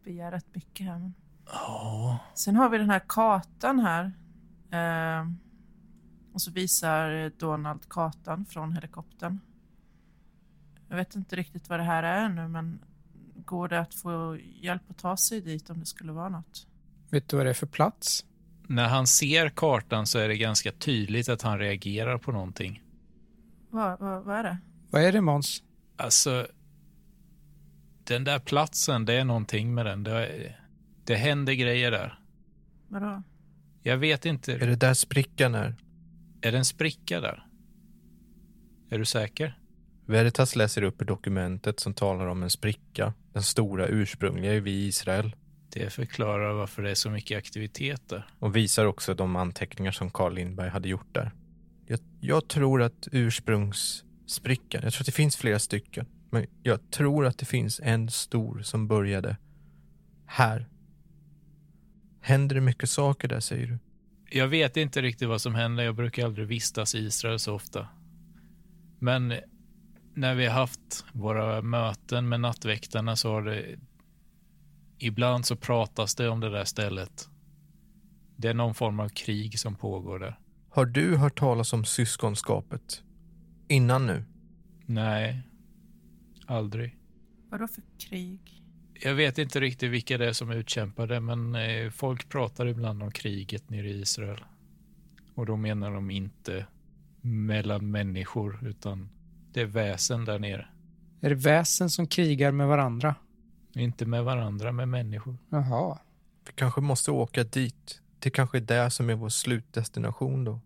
Begär rätt mycket här. men- Ja, Sen har vi den här kartan här. Eh, och så visar Donald kartan från helikoptern. Jag vet inte riktigt vad det här är nu men går det att få hjälp att ta sig dit om det skulle vara något? vet du vad det är för plats? när han ser kartan så är det ganska tydligt att han reagerar på någonting. Vad, vad, vad är det? Vad är det Måns? Alltså, den där platsen, det är någonting med den. Det, det händer grejer där. Vadå? Jag vet inte. Är det där sprickan är? Är det en spricka där? Är du säker? Veritas läser upp ur dokumentet som talar om en spricka. Den stora ursprungliga är vi i Israel Det förklarar varför det är så mycket aktivitet där. och visar också de anteckningar som Carl Lindberg hade gjort där. Jag, jag tror att ursprungssprickan, jag tror att det finns flera stycken, men jag tror att det finns en stor som började här. Händer det mycket saker där säger du? Jag vet inte riktigt vad som händer. Jag brukar aldrig vistas i Israel så ofta. Men när vi har haft våra möten med nattväktarna så har det... Ibland så pratas det om det där stället. Det är någon form av krig som pågår där. Har du hört talas om syskonskapet? Innan nu? Nej, aldrig. Vadå för krig? Jag vet inte riktigt vilka det är som utkämpar det, men eh, folk pratar ibland om kriget nere i Israel. Och då menar de inte mellan människor, utan det är väsen där nere. Är det väsen som krigar med varandra? Inte med varandra, med människor. Jaha. Vi kanske måste åka dit. Det kanske är där som är vår slutdestination då.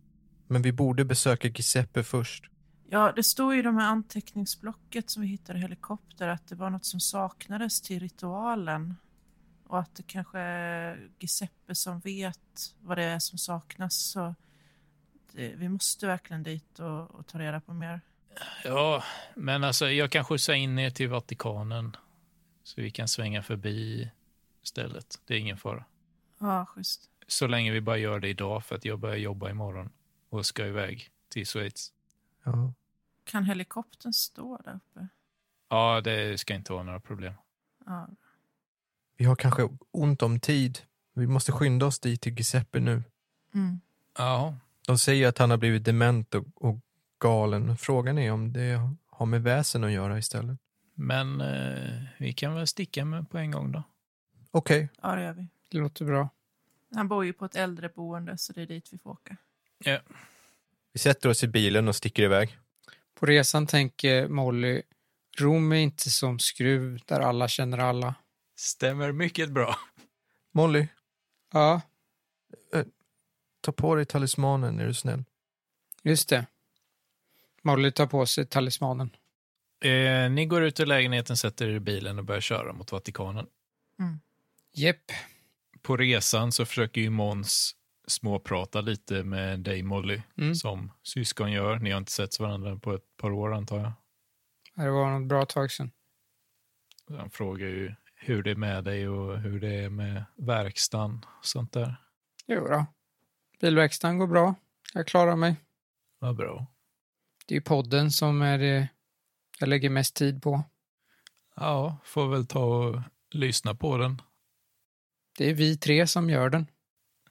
Men vi borde besöka Giuseppe först. Ja, det står ju i de här anteckningsblocket som vi hittade i helikopter att det var något som saknades till ritualen. Och att det kanske är Giuseppe som vet vad det är som saknas. Så det, vi måste verkligen dit och, och ta reda på mer. Ja, men alltså jag kan skjutsa in er till Vatikanen. Så vi kan svänga förbi stället. Det är ingen fara. Ja, schysst. Så länge vi bara gör det idag för att jag börjar jobba imorgon och ska iväg till Schweiz. Ja. Kan helikoptern stå där uppe? Ja, det ska inte vara några problem. Ja, Vi har kanske ont om tid. Vi måste skynda oss dit till Giuseppe nu. mm. Ja, De säger att han har blivit dement och, och galen. Frågan är om det har med väsen att göra istället. men eh, vi kan väl sticka med på en gång då. Okej, ja det gör vi. Det låter bra. Han bor ju på ett äldreboende så det är dit vi får åka. vi sätter oss i bilen och sticker iväg. På resan tänker Molly, Rom är inte som Skruv där alla känner alla. Stämmer mycket bra. Molly, Ja, ta på dig talismanen är du snäll. just det. Molly tar på sig talismanen. Eh, ni går ut ur lägenheten, sätter er i bilen och börjar köra mot Vatikanen. Jepp. På resan så försöker ju Måns småprata lite med dig Molly, Mm. som syskon gör. Ni har inte sett varandra på ett par år antar jag. Det var något bra tag sedan. Han frågar ju hur det är med dig och hur det är med verkstaden och sånt där. Jo då. Bilverkstaden går bra. Jag klarar mig. Vad bra. Det är ju podden som är det jag lägger mest tid på. Ja, får väl ta och lyssna på den. Det är vi tre som gör den.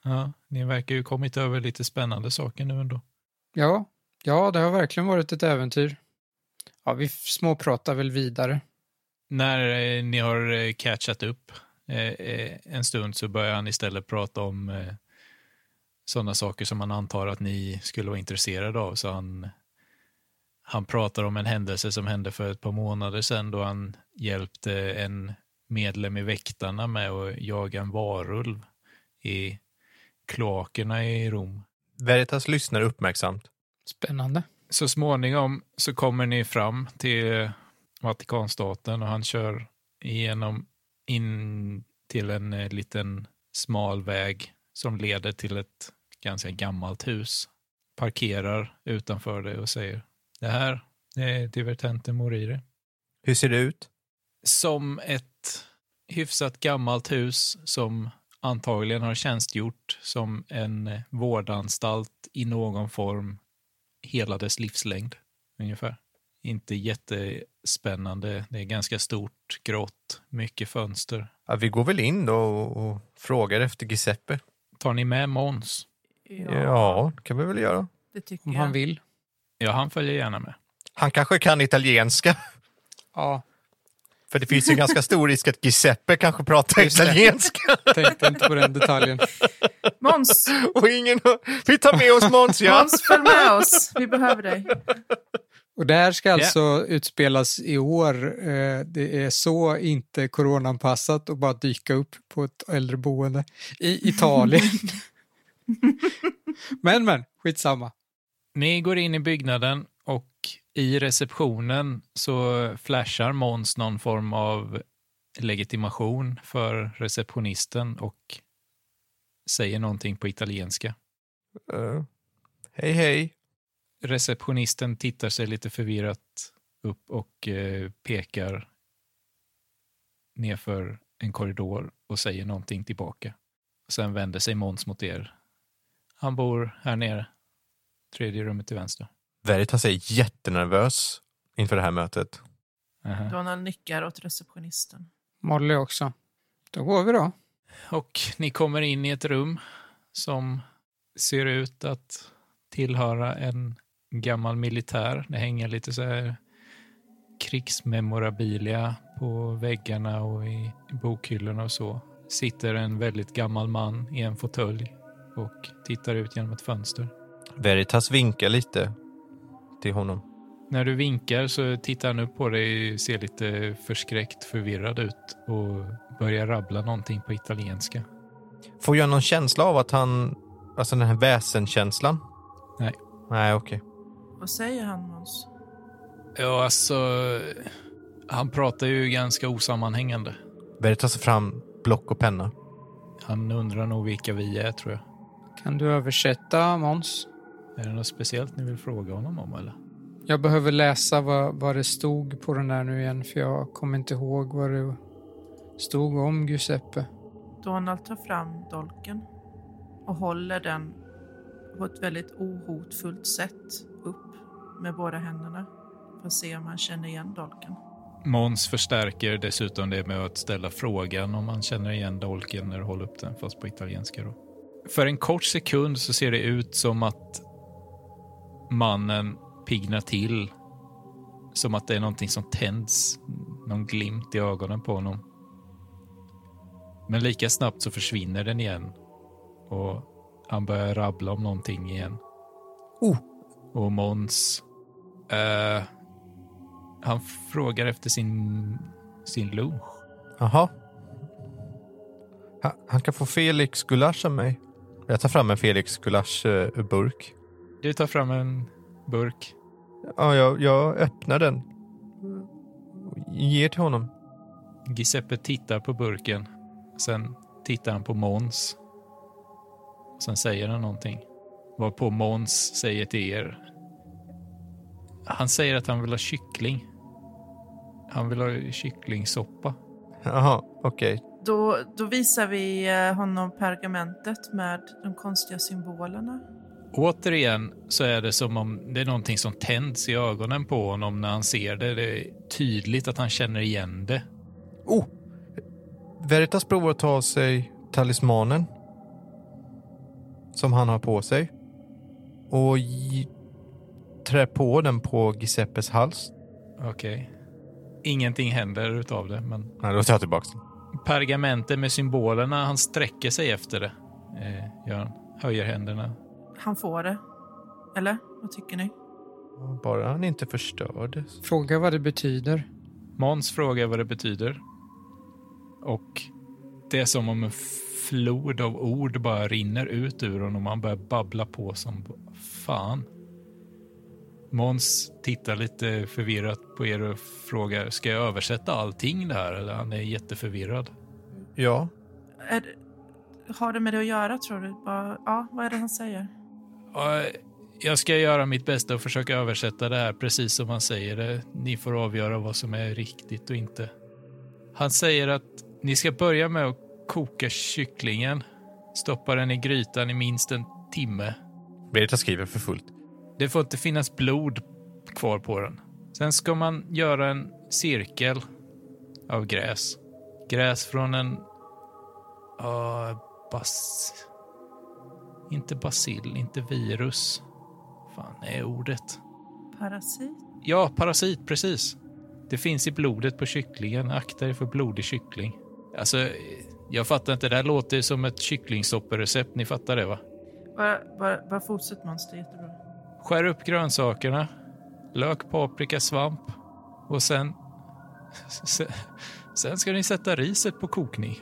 Ja, ni verkar ju kommit över lite spännande saker nu ändå. Ja, ja det har verkligen varit ett äventyr. Ja, vi småpratar väl vidare. När eh, ni har eh, catchat upp eh, eh, en stund så börjar han istället prata om eh, sådana saker som han antar att ni skulle vara intresserade av. Så han, han pratar om en händelse som hände för ett par månader sedan då han hjälpte en medlem i Väktarna med att jaga en varulv i kloakerna i Rom. Veritas lyssnar uppmärksamt. Spännande. så småningom så kommer ni fram till Vatikanstaten och han kör igenom in till en eh, liten smal väg som leder till ett ganska gammalt hus. Parkerar utanför det och säger det här det är divertenten Moriri. Hur ser det ut? Som ett hyfsat gammalt hus som antagligen har tjänstgjort som en eh, vårdanstalt i någon form hela dess livslängd ungefär. Inte jättespännande. Det är ganska stort, grått, mycket fönster. Ja, vi går väl in då och, och frågar efter Giuseppe. Tar ni med Måns? Ja. ja, det kan vi väl göra. det tycker Om jag. han vill. Ja, han följer gärna med. Han kanske kan italienska. Ja, För det finns ju en ganska stor risk att Giuseppe kanske pratar Just det. italienska. tänkte inte på den detaljen. Måns, Och ingen... Vi tar med oss Måns, ja. Måns följ med oss. Vi behöver dig. Och det här ska alltså utspelas i år. Eh, Det är så inte coronanpassat att bara dyka upp på ett äldreboende [LAUGHS] i Italien. men, men, skitsamma. Ni går in i byggnaden och i receptionen så flashar Måns någon form av legitimation för receptionisten och säger någonting på italienska. Eh, hej, hej. Receptionisten tittar sig lite förvirrat upp och eh, pekar nerför en korridor och säger någonting tillbaka. Sen vänder sig Måns mot er. Han bor här nere, tredje rummet till vänster. Veritas är jättenervös inför det här mötet. Aha. Donald nickar åt receptionisten. Molly också. Då går vi då. Och ni kommer in i ett rum som ser ut att tillhöra en gammal militär. Det hänger lite så här krigsmemorabilia på väggarna och i bokhyllorna och så. Sitter en väldigt gammal man i en fåtölj och tittar ut genom ett fönster. Veritas vinkar lite till honom. När du vinkar så tittar han upp på dig, ser lite förskräckt förvirrad ut och börjar rabbla någonting på italienska. Får jag någon känsla av att han... Alltså den här väsenkänslan? Nej. Nej, okej. Vad säger han Måns? Ja, alltså... Han pratar ju ganska osammanhängande. Berry tar sig fram block och penna. Han undrar nog vilka vi är, tror jag. Kan du översätta, Måns? Är det något speciellt ni vill fråga honom om, eller? Jag behöver läsa vad, vad det stod på den där nu igen, för jag kommer inte ihåg vad det stod om Giuseppe. Donald tar fram dolken och håller den på ett väldigt ohotfullt sätt upp med båda händerna för att se om han känner igen dolken. Måns förstärker dessutom det med att ställa frågan om man känner igen dolken när du håller upp den, fast på italienska då. För en kort sekund så ser det ut som att mannen piggnar till. Som att det är någonting som tänds, någon glimt i ögonen på honom. Men lika snabbt så försvinner den igen. Och han börjar rabbla om någonting igen. Oh. Och Måns... eh, han frågar efter sin, sin lunch. Jaha. Ha- Han kan få Felix gulasch av mig. Jag tar fram en Felix eh, gulasch-burk. Du tar fram en burk. Ja, jag, jag öppnar den. Ger till honom. Giuseppe tittar på burken. Sen tittar han på Måns. Sen säger han någonting. Varpå Måns säger till er. Han säger att han vill ha kyckling. Han vill ha kycklingsoppa. Jaha, okej. Då, då visar vi eh, honom pergamentet med de konstiga symbolerna. Återigen så är det som om det är någonting som tänds i ögonen på honom när han ser det. Det är tydligt att han känner igen det. Oh! Veritas provar att ta sig talismanen. Som han har på sig. Och j- trär på den på Giuseppes hals. Okej. Ingenting händer utav det, men Nej, då tar jag tillbaka den. pergamentet med symbolerna. Han sträcker sig efter det. Eh, gör han. Höjer händerna. Han får det. Eller? Vad tycker ni? Bara han inte förstördes. Fråga vad det betyder. Måns frågar vad det betyder. Och det är som om en flod av ord bara rinner ut ur honom. Han börjar babbla på som fan. Måns tittar lite förvirrat på er och frågar, ska jag översätta allting det här? Eller han är jätteförvirrad. Ja, Är, det- har det med det att göra tror du? Vad- ja, vad är det han säger? Ja, Jag ska göra mitt bästa och försöka översätta det här precis som han säger det. Ni får avgöra vad som är riktigt och inte. Han säger att ni ska börja med att koka kycklingen. Stoppa den i grytan i minst en timme. Berita skriver för fullt. Det får inte finnas blod kvar på den. Sen ska man göra en cirkel av gräs. Gräs från en... Uh, bas... Inte basil, inte virus. fan är ordet? Parasit? Ja, parasit, precis. Det finns i blodet på kycklingen. Akta er för blodig kyckling. Alltså, eh, jag fattar inte. Det här låter ju som ett kycklingsopperecept. Ni fattar det, va? Bara, bara, bara fortsätt Måns, det är jättebra. Skär upp grönsakerna. Lök, paprika, svamp. Och sen... [LAUGHS] Sen, sen ska ni sätta riset på kokning.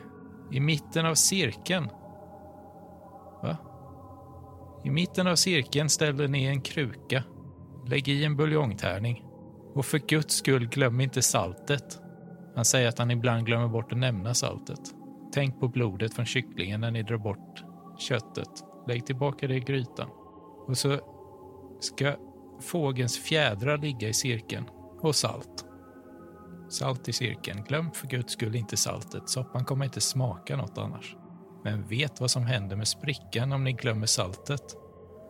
I mitten av cirkeln. Va? I mitten av cirkeln ställer ni en kruka. Lägg i en buljongtärning. Och för guds skull, glöm inte saltet. Han säger att han ibland glömmer bort att nämna saltet. Tänk på blodet från kycklingen när ni drar bort köttet. Lägg tillbaka det i grytan. Och så ska fågelns fjädrar ligga i cirkeln och salt. Salt i cirkeln. Glöm för guds skull inte saltet. Soppan kommer inte smaka något annars. Men vet vad som händer med sprickan om ni glömmer saltet.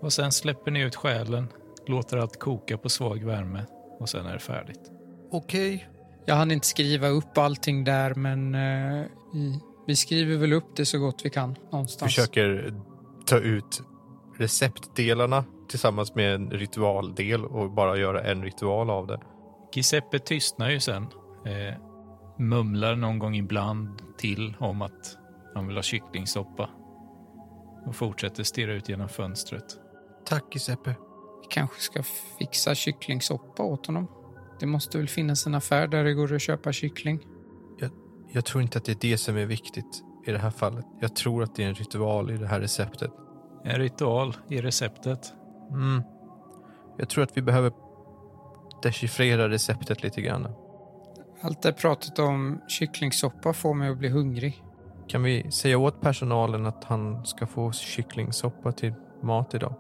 Och sen släpper ni ut själen, låter allt koka på svag värme och sen är det färdigt. Okej. Jag hann inte skriva upp allting där, men eh, i, vi skriver väl upp det så gott vi kan någonstans. Försöker ta ut receptdelarna tillsammans med en ritualdel och bara göra en ritual av det. Giuseppe tystnar ju sen. Eh, mumlar någon gång ibland till om att han vill ha kycklingsoppa. Och fortsätter stirra ut genom fönstret. Tack Giuseppe. Vi kanske ska fixa kycklingsoppa åt honom. Det måste väl finnas en affär där det går att köpa kyckling. Jag tror inte att det är det som är viktigt i det här fallet. Jag tror att det är en ritual i det här receptet. En ritual i receptet. Mm. Jag tror att vi behöver dechiffrera receptet lite grann. Allt det pratet om kycklingsoppa får mig att bli hungrig. Kan vi säga åt personalen att han ska få kycklingsoppa till mat idag?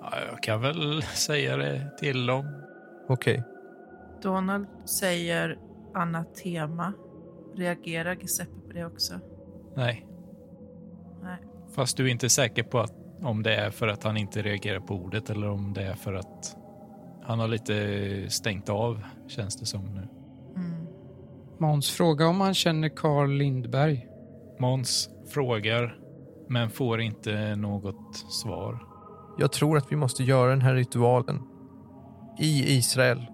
Ja, jag kan väl [LAUGHS] säga det till dem. Okej. Donald säger anatema. Reagerar Giuseppe på det också? Nej. Nej. Fast du är inte säker på att, om det är för att han inte reagerar på ordet eller om det är för att han har lite stängt av, känns det som nu. Mm. Måns fråga om han känner Carl Lindberg. Måns frågar, men får inte något svar. Jag tror att vi måste göra den här ritualen. I Israel.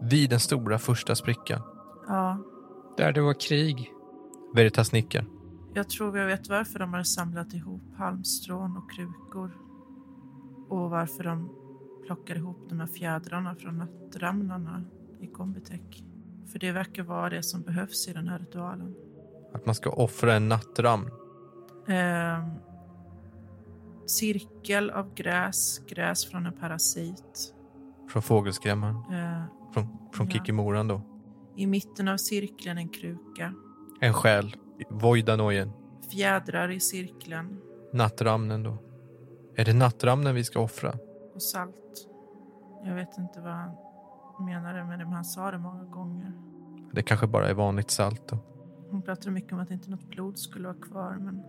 Vid den stora första sprickan. Ja, Där det var krig. Veritas nickar. Jag tror jag vet varför de har samlat ihop halmstrån och krukor. Och varför de plockar ihop de här fjädrarna från nattramlarna i Kombitek. För det verkar vara det som behövs i den här ritualen. Att man ska offra en nattramn. Ehm, cirkel av gräs, gräs från en parasit. Från fågelskrämmaren. Ehm, Från, från Ja. kikimoran då. I mitten av cirkeln en kruka. En själ. Vojdanojen. Fjädrar i cirkeln Nattramnen då. Är det nattramnen vi ska offra? och salt. Jag vet inte vad han menade med det, men han sa det många gånger. Det kanske bara är vanligt salt då. Hon pratade mycket om att inte något blod skulle vara kvar. Men...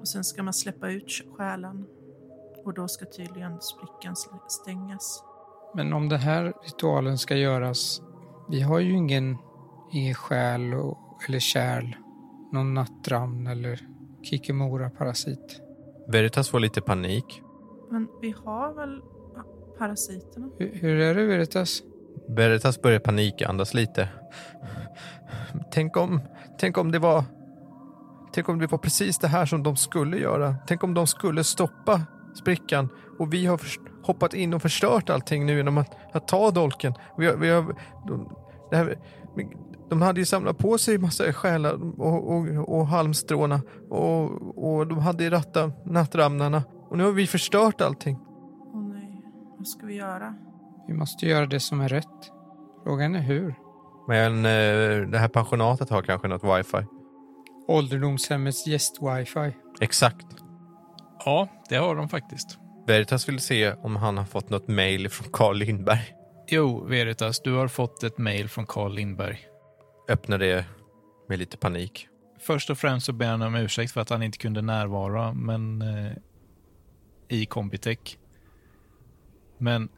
Och sen ska man släppa ut själen. Och då ska tydligen sprickan sl- stängas. Men om den här ritualen ska göras, vi har ju ingen, ingen själ och, eller kärl, någon nattramn eller kikemora-parasit. Veritas får lite panik. Men vi har väl ja, parasiterna? Hur, hur är det Veritas? Veritas börjar panikandas lite. Tänk om, tänk om det var... Tänk om det var precis det här som de skulle göra. Tänk om de skulle stoppa sprickan och vi har förs- hoppat in och förstört allting nu genom att, att ta dolken. Vi har, vi har, de, det här, de hade ju samlat på sig massa själar och, och, och halmstråna och, och de hade ju ratta nattramnarna. Och nu har vi förstört allting. Åh nej, vad ska vi göra? Vi måste göra det som är rätt. Frågan är hur. Men eh, det här pensionatet har kanske något wifi. Ålderdomshemmets gäst-wifi. Exakt. Ja, det har de faktiskt. Veritas vill se om han har fått något mejl från Carl Lindberg. Jo, Veritas, du har fått ett mejl från Carl Lindberg. Öppnar det med lite panik. Först och främst så ber han om ursäkt för att han inte kunde närvara men, eh, i Combitech. Men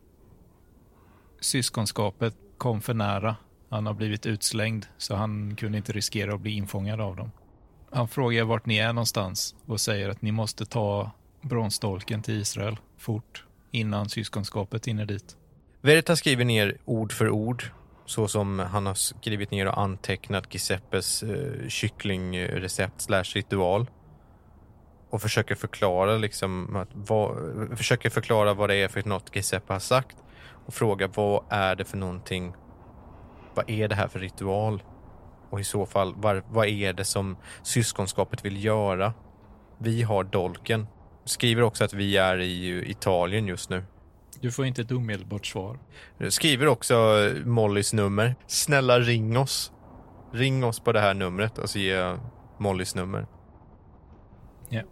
syskonskapet kom för nära. Han har blivit utslängd så han kunde inte riskera att bli infångad av dem. Han frågar vart ni är någonstans och säger att ni måste ta bronsdolken till Israel fort innan syskonskapet hinner dit. Veritas skriver ner ord för ord så som han har skrivit ner och antecknat Giuseppes eh, kycklingrecept slash ritual. Och försöker förklara liksom att vad, försöker förklara vad det är för något Giuseppe har sagt och frågar vad är det för någonting? Vad är det här för ritual? Och i så fall, var, vad är det som syskonskapet vill göra? Vi har dolken. Skriver också att vi är i Italien just nu. Du får inte ett omedelbart svar. Skriver också eh, Mollys nummer. Snälla ring oss. Ring oss på det här numret. Alltså ge Mollys nummer. Ja.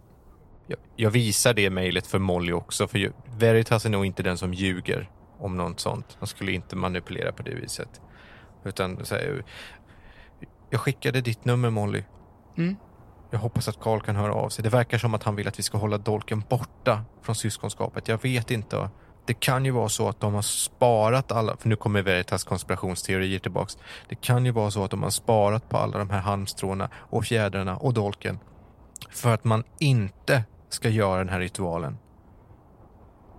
Jag, jag visar det mejlet för Molly också. För ju- Veritas är nog inte den som ljuger om något sånt. De skulle inte manipulera på det viset. Utan säger jag skickade ditt nummer Molly. Mm. Jag hoppas att Carl kan höra av sig. Det verkar som att han vill att vi ska hålla dolken borta från syskonskapet. Jag vet inte. Det kan ju vara så att de har sparat alla, för nu kommer Veritas konspirationsteorier tillbaks. Det kan ju vara så att de har sparat på alla de här halmstråna och fjädrarna och dolken för att man inte ska göra den här ritualen.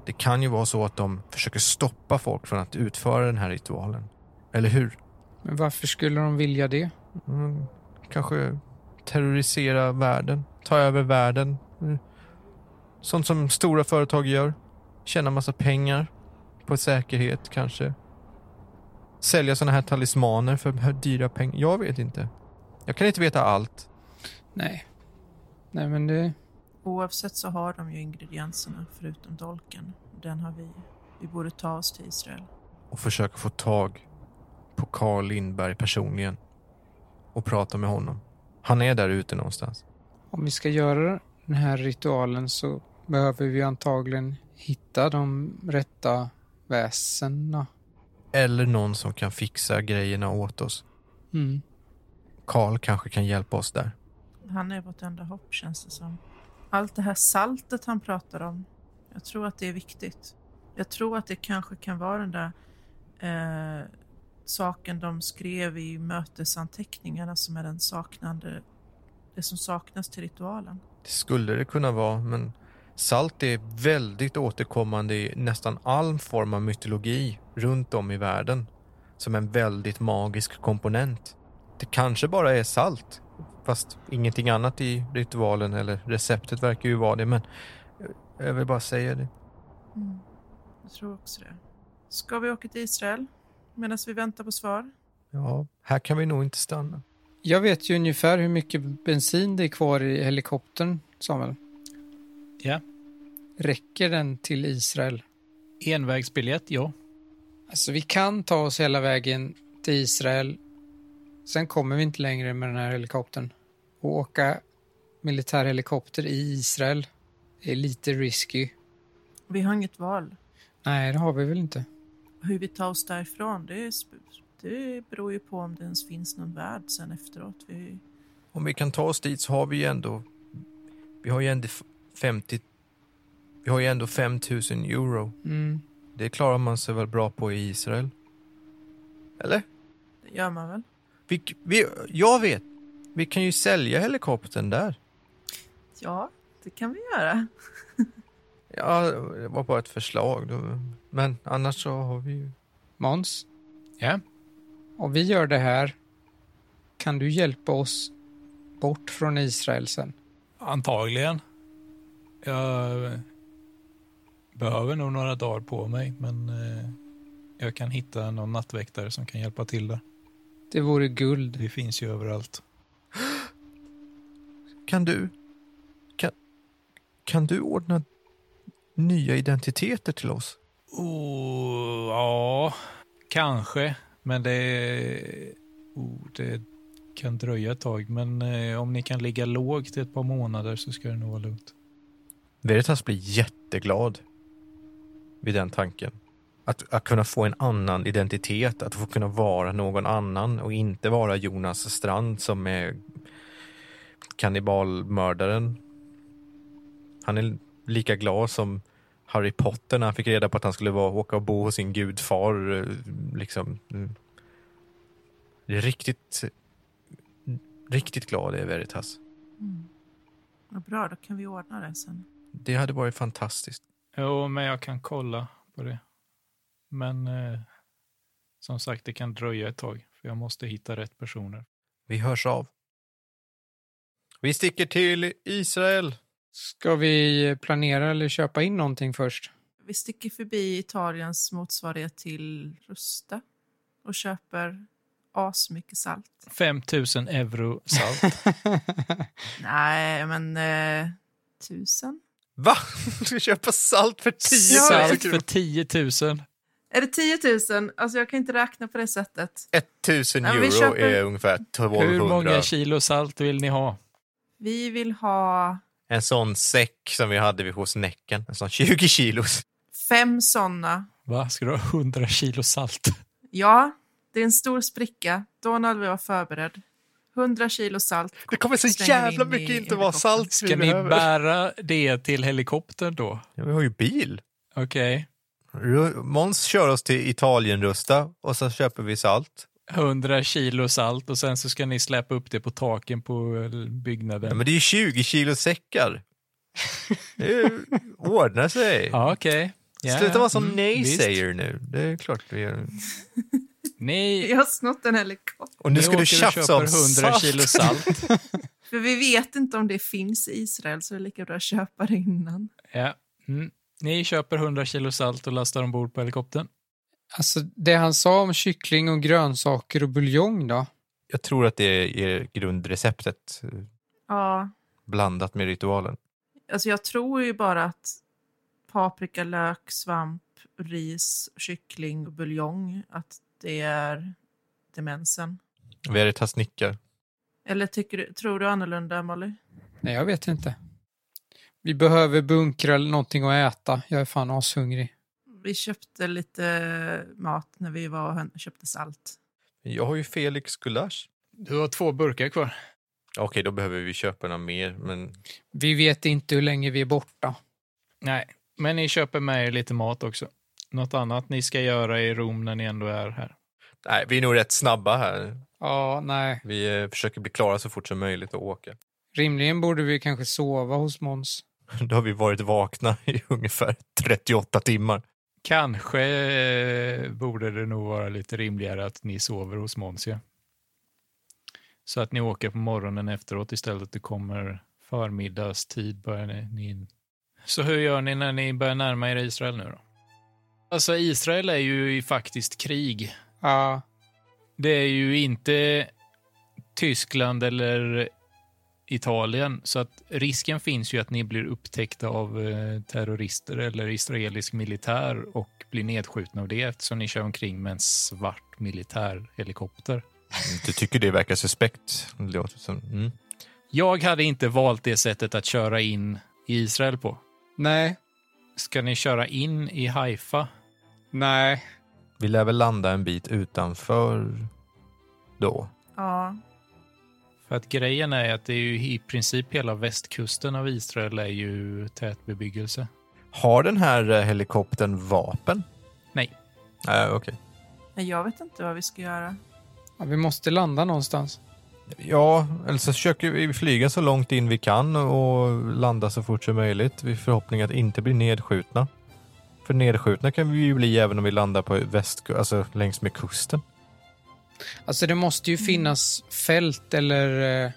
Det kan ju vara så att de försöker stoppa folk från att utföra den här ritualen. Eller hur? Men varför skulle de vilja det? Mm, kanske terrorisera världen, ta över världen. Mm. Sånt som stora företag gör. Tjäna massa pengar på säkerhet kanske. Sälja såna här talismaner för dyra pengar. Jag vet inte. Jag kan inte veta allt. Nej. Nej, men det... Oavsett så har de ju ingredienserna förutom dolken. Den har vi. Vi borde ta oss till Israel. och försöker få tag på Carl Lindberg personligen och prata med honom. Han är där ute någonstans. Om vi ska göra den här ritualen så behöver vi antagligen hitta de rätta väsena. Eller någon som kan fixa grejerna åt oss. Mm. Carl kanske kan hjälpa oss där. Han är vårt enda hopp känns det som. Allt det här saltet han pratar om. Jag tror att det är viktigt. Jag tror att det kanske kan vara den där eh, saken de skrev i mötesanteckningarna som är den saknande, det som saknas till ritualen. Det skulle det kunna vara, men salt är väldigt återkommande i nästan all form av mytologi runt om i världen som en väldigt magisk komponent. Det kanske bara är salt, fast ingenting annat i ritualen eller receptet verkar ju vara det, men eh, jag vill bara säga det. Jag tror också det. Ska vi åka till Israel medan vi väntar på svar? Ja, här kan vi nog inte stanna. Jag vet ju ungefär hur mycket bensin det är kvar i helikoptern, Samuel. Ja. Räcker den till Israel? Envägsbiljett, ja. Alltså, vi kan ta oss hela vägen till Israel. Sen kommer vi inte längre med den här helikoptern. Och åka militärhelikopter i Israel är lite risky. Vi har inget val. Nej, det har vi väl inte. Hur vi tar oss därifrån, det, är, sp- det beror ju på om det ens finns någon värld sen efteråt. Vi, Om vi kan ta oss dit så har vi ju ändå... Vi har ju ändå 50... Vi har ju ändå 5 000 euro. Mm. Det klarar man sig väl bra på i Israel? Eller? det gör man väl? Vi, vi, jag vet! Vi kan ju sälja helikoptern där. Ja, det kan vi göra. Ja, det var bara ett förslag. då. Men annars så har vi ju... Måns, Ja, om vi gör det här, kan du hjälpa oss bort från Israel sen? antagligen. Jag eh, behöver nog några dagar på mig, men eh, jag kan hitta någon nattväktare som kan hjälpa till där. Det vore guld. Det finns ju överallt. Kan du... Kan, kan du ordna nya identiteter till oss? Oh, ja, kanske. Men det, oh, det kan dröja ett tag. Men eh, om ni kan ligga lågt i ett par månader så ska det nog vara lugnt. Veritas blir jätteglad vid den tanken. Att, att kunna få en annan identitet, att få kunna vara någon annan och inte vara Jonas Strand som är kannibalmördaren. Han är lika glad som Harry Potter när han fick reda på att han skulle vara, åka och bo hos sin gudfar. eh, Liksom. Mm. Riktigt, riktigt glad är Veritas. Mm. Vad bra, då kan vi ordna det sen. Det hade varit fantastiskt. Jo, men jag kan kolla på det. Men eh, som sagt, det kan dröja ett tag. För jag måste hitta rätt personer. Vi hörs av. Vi sticker till Israel. Ska vi planera eller köpa in någonting först? Vi sticker förbi Italiens motsvarighet till Rusta och köper asmycket salt. 5 000 euro [LAUGHS] salt. Nej, men eh, tusen? Va? [LAUGHS] Du ska köpa salt för 10 salt för 10 000. Är det 10 000? Alltså jag kan inte räkna på det sättet. 1000 Ja, euro vi köper- är ungefär Hur 1200. många kilo salt vill ni ha? Vi vill ha En sån säck som vi hade vid hos Näcken. En sån 20 kilos. fem såna. Va, ska du ha 100 kilo [LAUGHS] salt? Ja, det är en stor spricka. Donald vill vara förberedd. 100 kilo salt. [LAUGHS] Det kommer så Slänger jävla in i mycket inte vara helikoptern. salt Ska ni bära det till helikoptern då? Ja, vi har ju bil. Okej. Ru- Måns kör oss till Italienrusta och så köper vi salt. 100 kilo salt och sen så ska ni släppa upp det på taken på eh, Ja, byggnaden. men det är ju 20 kilo [LAUGHS] säckar. Det ordnar sig. Ja, okej. Ja, Sluta vara som mm, nej-säger nu. Det är klart vi gör. visst. Ni, Jag har snott en helikopter. Och nu ni ska du åker och tjafsa om köper 100 salt. [LAUGHS] kilo salt. För vi vet inte om det finns i Israel så det är lika bra att köpa det innan. Ja. Mm. Ni köper 100 kilo salt och lastar ombord på helikoptern. Alltså, det han sa om kyckling och grönsaker och buljong då? Jag tror att det är grundreceptet eh, Ja, blandat med ritualen. Alltså jag tror ju bara att paprika, lök, svamp, ris, kyckling och buljong att det är demensen? Veritas nickar. Eller tycker du, tror du annorlunda, Molly? Nej, jag vet inte. Vi behöver bunkra eller någonting att äta. Jag är fan ashungrig. Vi köpte lite mat när vi var och hön- köpte salt. Jag har ju Felix gulasch. Du har två burkar kvar. Okej, då behöver vi köpa några mer, men Vi vet inte hur länge vi är borta. Nej, men ni köper med er lite mat också. Något annat ni ska göra i Rom när ni ändå är här. nej, vi är nog rätt snabba här. Ja, nej. Vi eh, försöker bli klara så fort som möjligt och åka. [LAUGHS] Rimligen borde vi kanske sova hos Måns. Då har vi varit vakna i [LAUGHS] ungefär 38 timmar. Kanske eh, borde det nog vara lite rimligare att ni sover hos Monsia. Så att ni åker på morgonen efteråt istället. Det kommer förmiddagstid. Börjar ni, ni in. Så hur gör ni när ni börjar närma er Israel nu då? Alltså Israel är ju i faktiskt krig. Ja, Det är ju inte Tyskland eller Italien, så att risken finns ju att ni blir upptäckta av eh, terrorister eller israelisk militär och blir nedskjutna av det eftersom ni kör omkring med en svart militärhelikopter. Du tycker det verkar suspekt? Det låter som... Mm. Jag hade inte valt det sättet att köra in i Israel på. nej, Ska ni köra in i Haifa? nej. Vi lär väl landa en bit utanför då. Ja, För att grejen är att det är ju i princip hela västkusten av Israel är ju tätbebyggelse. Har den här eh, helikoptern vapen? Nej. Nej, Äh, okej. men jag vet inte vad vi ska göra. Ja, vi måste landa någonstans. Ja, eller så försöker vi flyga så långt in vi kan och landa så fort som möjligt. Vi förhoppning att inte bli nedskjutna. För nedskjutna kan vi ju bli även om vi landar på västku- alltså längs med kusten. Alltså det måste ju finnas fält eller eh,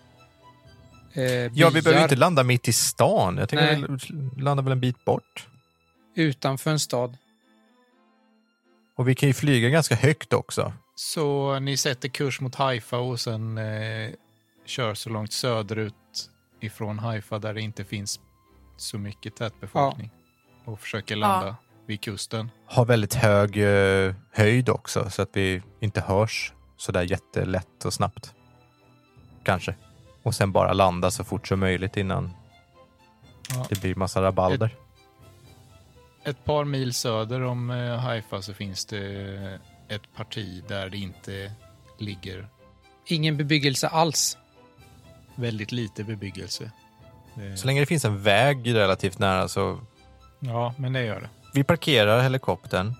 eh, Ja, vi byar behöver inte landa mitt i stan. Jag tänker Nej. väl landa väl en bit bort. utanför en stad. Och vi kan ju flyga ganska högt också. Så ni sätter kurs mot Haifa och sen eh, kör så långt söderut ifrån Haifa där det inte finns så mycket tätbefolkning och försöker landa vid kusten. Har väldigt hög eh, höjd också så att vi inte hörs sådär jättelätt och snabbt. Kanske. Och sen bara landa så fort som möjligt innan Ja. det blir massa rabalder. Ett par mil söder om eh, Haifa så finns det ett parti där det inte ligger Ingen bebyggelse alls. väldigt lite bebyggelse. Eh, Det- Så länge det finns en väg relativt nära så... Ja, men det gör det. Vi parkerar helikoptern,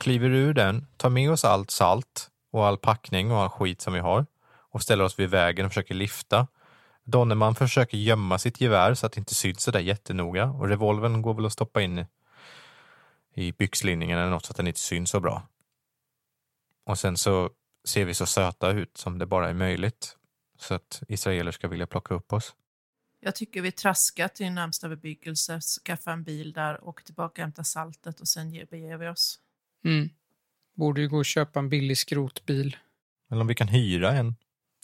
kliver ur den, tar med oss allt salt och all packning och all skit som vi har och ställer oss vid vägen och försöker lyfta. Donnerman försöker gömma sitt gevär så att det inte syns sådär jättenoga och revolvern går väl att stoppa in i- i byxlinningen eller något så att den inte syns så bra. Och sen så ser vi så söta ut som det bara är möjligt så att israeler ska vilja plocka upp oss. Jag tycker vi traskar till närmsta bebyggelse, skaffar en bil där, åker tillbaka och hämtar saltet och sen ge- beger vi oss. Mm. Borde ju gå och köpa en billig skrotbil. Eller om vi kan hyra en.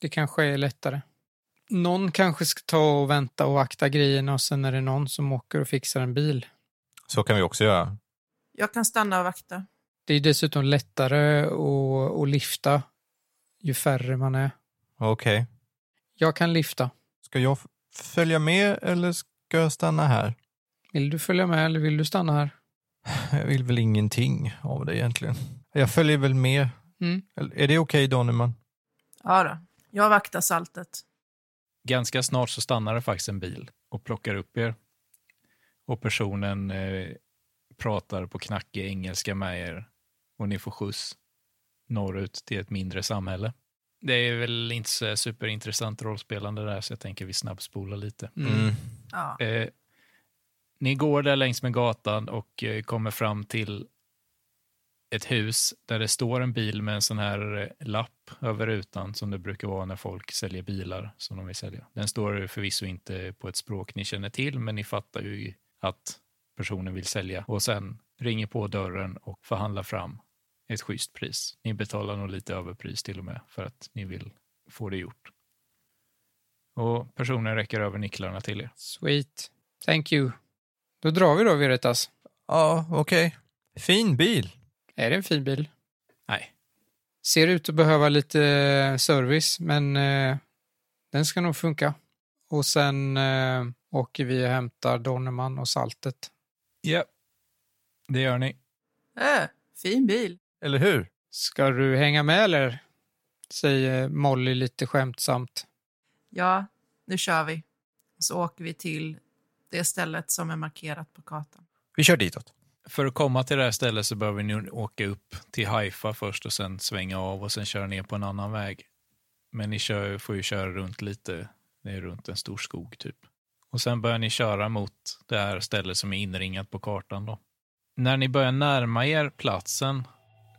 Det kanske är lättare. Någon kanske ska ta och vänta och akta grejerna och sen är det någon som åker och fixar en bil. Så kan vi också göra. Jag kan stanna och vakta. Det är dessutom lättare att, att lyfta ju färre man är. Okej. Jag kan lyfta. Ska jag f- följa med eller ska jag stanna här? [LAUGHS] Vill du följa med eller vill du stanna här? Jag vill väl ingenting av det egentligen. Jag följer väl med. Mm. Eller- Är det okej Donnerman? Ja då. Jag vaktar saltet. Ganska snart så stannar det faktiskt en bil och plockar upp er. Och personen eh, pratar på knackig engelska med er och ni får skjuts norrut till ett mindre samhälle. Det är väl inte så superintressant rollspelande där, så jag tänker vi snabbspolar lite. Mm. Ja. Eh, ni går där längs med gatan och eh, kommer fram till ett hus där det står en bil med en sån här eh, lapp över rutan som det brukar vara när folk säljer bilar som de vill sälja. Den står förvisso inte på ett språk ni känner till, men ni fattar ju att personen vill sälja och sen ringer på dörren och förhandlar fram ett schysst pris. Ni betalar nog lite överpris till och med för att ni vill få det gjort. Och personen räcker över nycklarna till er. Sweet. Thank you. Då drar vi då, Veritas. Ja, okej. Fin bil. Är det en fin bil? Nej. Ser ut att behöva lite eh, service, men eh, den ska nog funka. Och sen eh, åker vi och hämtar Donnerman och saltet. Ja, det gör ni. Äh, fin bil. Eller hur? Ska du hänga med eller? Säger Molly lite skämtsamt. Ja, nu kör vi. Och så åker vi till det stället som är markerat på kartan. Vi kör ditåt. För att komma till det här stället så behöver ni åka upp till Haifa först och sen svänga av och sen köra ner på en annan väg. Men ni kör, får ju köra runt lite, det är runt en stor skog typ. Och sen börjar ni köra mot det här stället som är inringat på kartan då. När ni börjar närma er platsen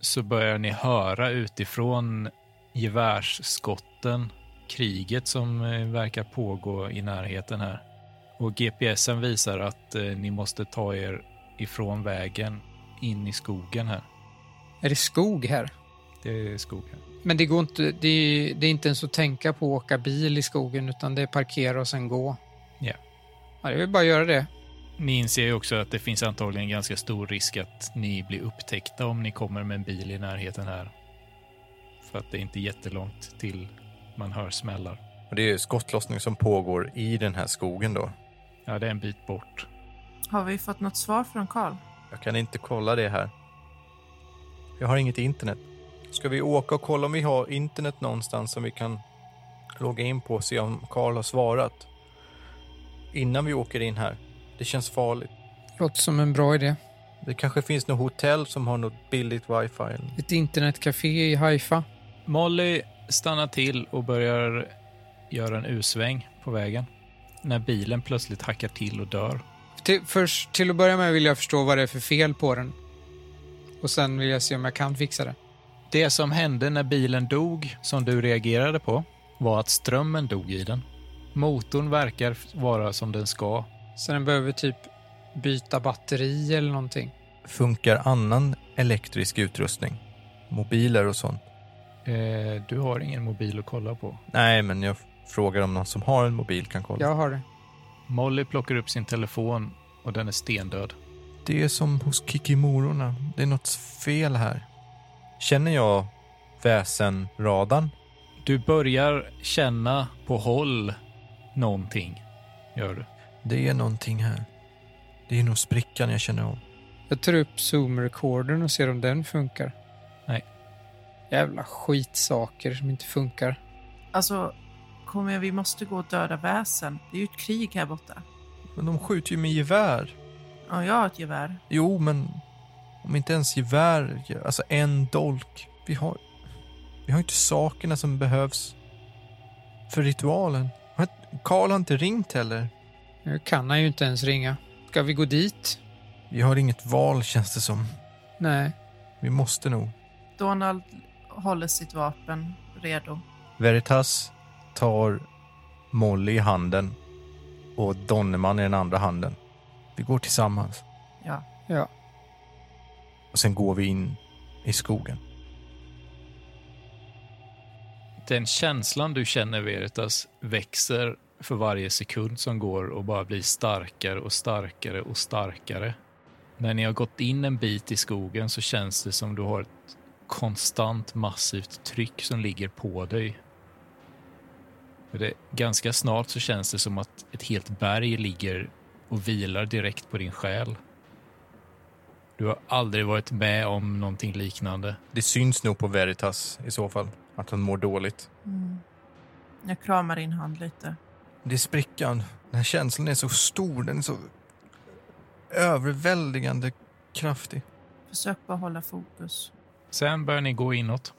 så börjar ni höra utifrån gevärsskotten, kriget som eh, verkar pågå i närheten här. Och GPSen visar att eh, ni måste ta er ifrån vägen in i skogen här. Är det skog här? Det är skog här. Men det går inte, det är, det är inte ens att tänka på att åka bil i skogen utan det är parkera och sen gå. Ja. Ja, det är väl bara att göra det. Ni inser ju också att det finns antagligen ganska stor risk att ni blir upptäckta om ni kommer med en bil i närheten här. För att det är inte jättelångt till man hör smällar. Och det är ju skottlossning som pågår i den här skogen då. Ja, det är en bit bort. Har vi fått något svar från Karl? Jag kan inte kolla det här. Jag har inget internet. Ska vi åka och kolla om vi har internet någonstans som vi kan logga in på och se om Karl har svarat? Innan vi åker in här. Det känns farligt. Låter som en bra idé. Det kanske finns något hotell som har något billigt wifi. eller- Ett internetcafé i Haifa. Molly stannar till och börjar göra en U-sväng på vägen. När bilen plötsligt hackar till och dör. Till, först, till att börja med vill jag förstå vad det är för fel på den. Och sen vill jag se om jag kan fixa det. Det som hände när bilen dog, som du reagerade på, var att strömmen dog i den. Motorn verkar vara som den ska. Så den behöver typ byta batteri eller någonting. Funkar annan elektrisk utrustning? Mobiler och sånt? Eh, du har ingen mobil att kolla på. Nej, men jag frågar om någon som har en mobil kan kolla. Jag har det. Molly plockar upp sin telefon och den är stendöd. Det är som hos Kikimororna. Det är något fel här. Känner jag väsenradan? Du börjar känna på håll någonting, gör du. Det är någonting här. Det är nog sprickan jag känner av. Jag tar upp Zoom-recordern och ser om den funkar. Nej. Jävla skitsaker som inte funkar. Alltså, kommer jag, vi måste gå och döda väsen. Det är ju ett krig här borta. Men de skjuter ju med gevär. Ja, jag har ett gevär. Jo, men om inte ens gevär, alltså en dolk. Vi har, vi har inte sakerna som behövs för ritualen. Har- Karl har inte ringt heller. Nu kan han ju inte ens ringa. Ska vi gå dit? Vi har inget val känns det som. Nej. Vi måste nog. Donald håller sitt vapen redo. Veritas tar Molly i handen och Donnerman i den andra handen. Vi går tillsammans Ja. Ja. och sen går vi in i skogen. Den känslan du känner, Veritas, växer för varje sekund som går och bara blir starkare och starkare och starkare. När ni har gått in en bit i skogen så känns det som du har ett konstant massivt tryck som ligger på dig. För det, ganska snart så känns det som att ett helt berg ligger och vilar direkt på din själ. Du har aldrig varit med om någonting liknande. Det syns nog på Veritas i så fall att han mår dåligt. Mm. Jag kramar din hand lite. Det är sprickan. Den här känslan är så stor. Den är så överväldigande kraftig. Försök bara hålla fokus. Sen börjar ni gå inåt.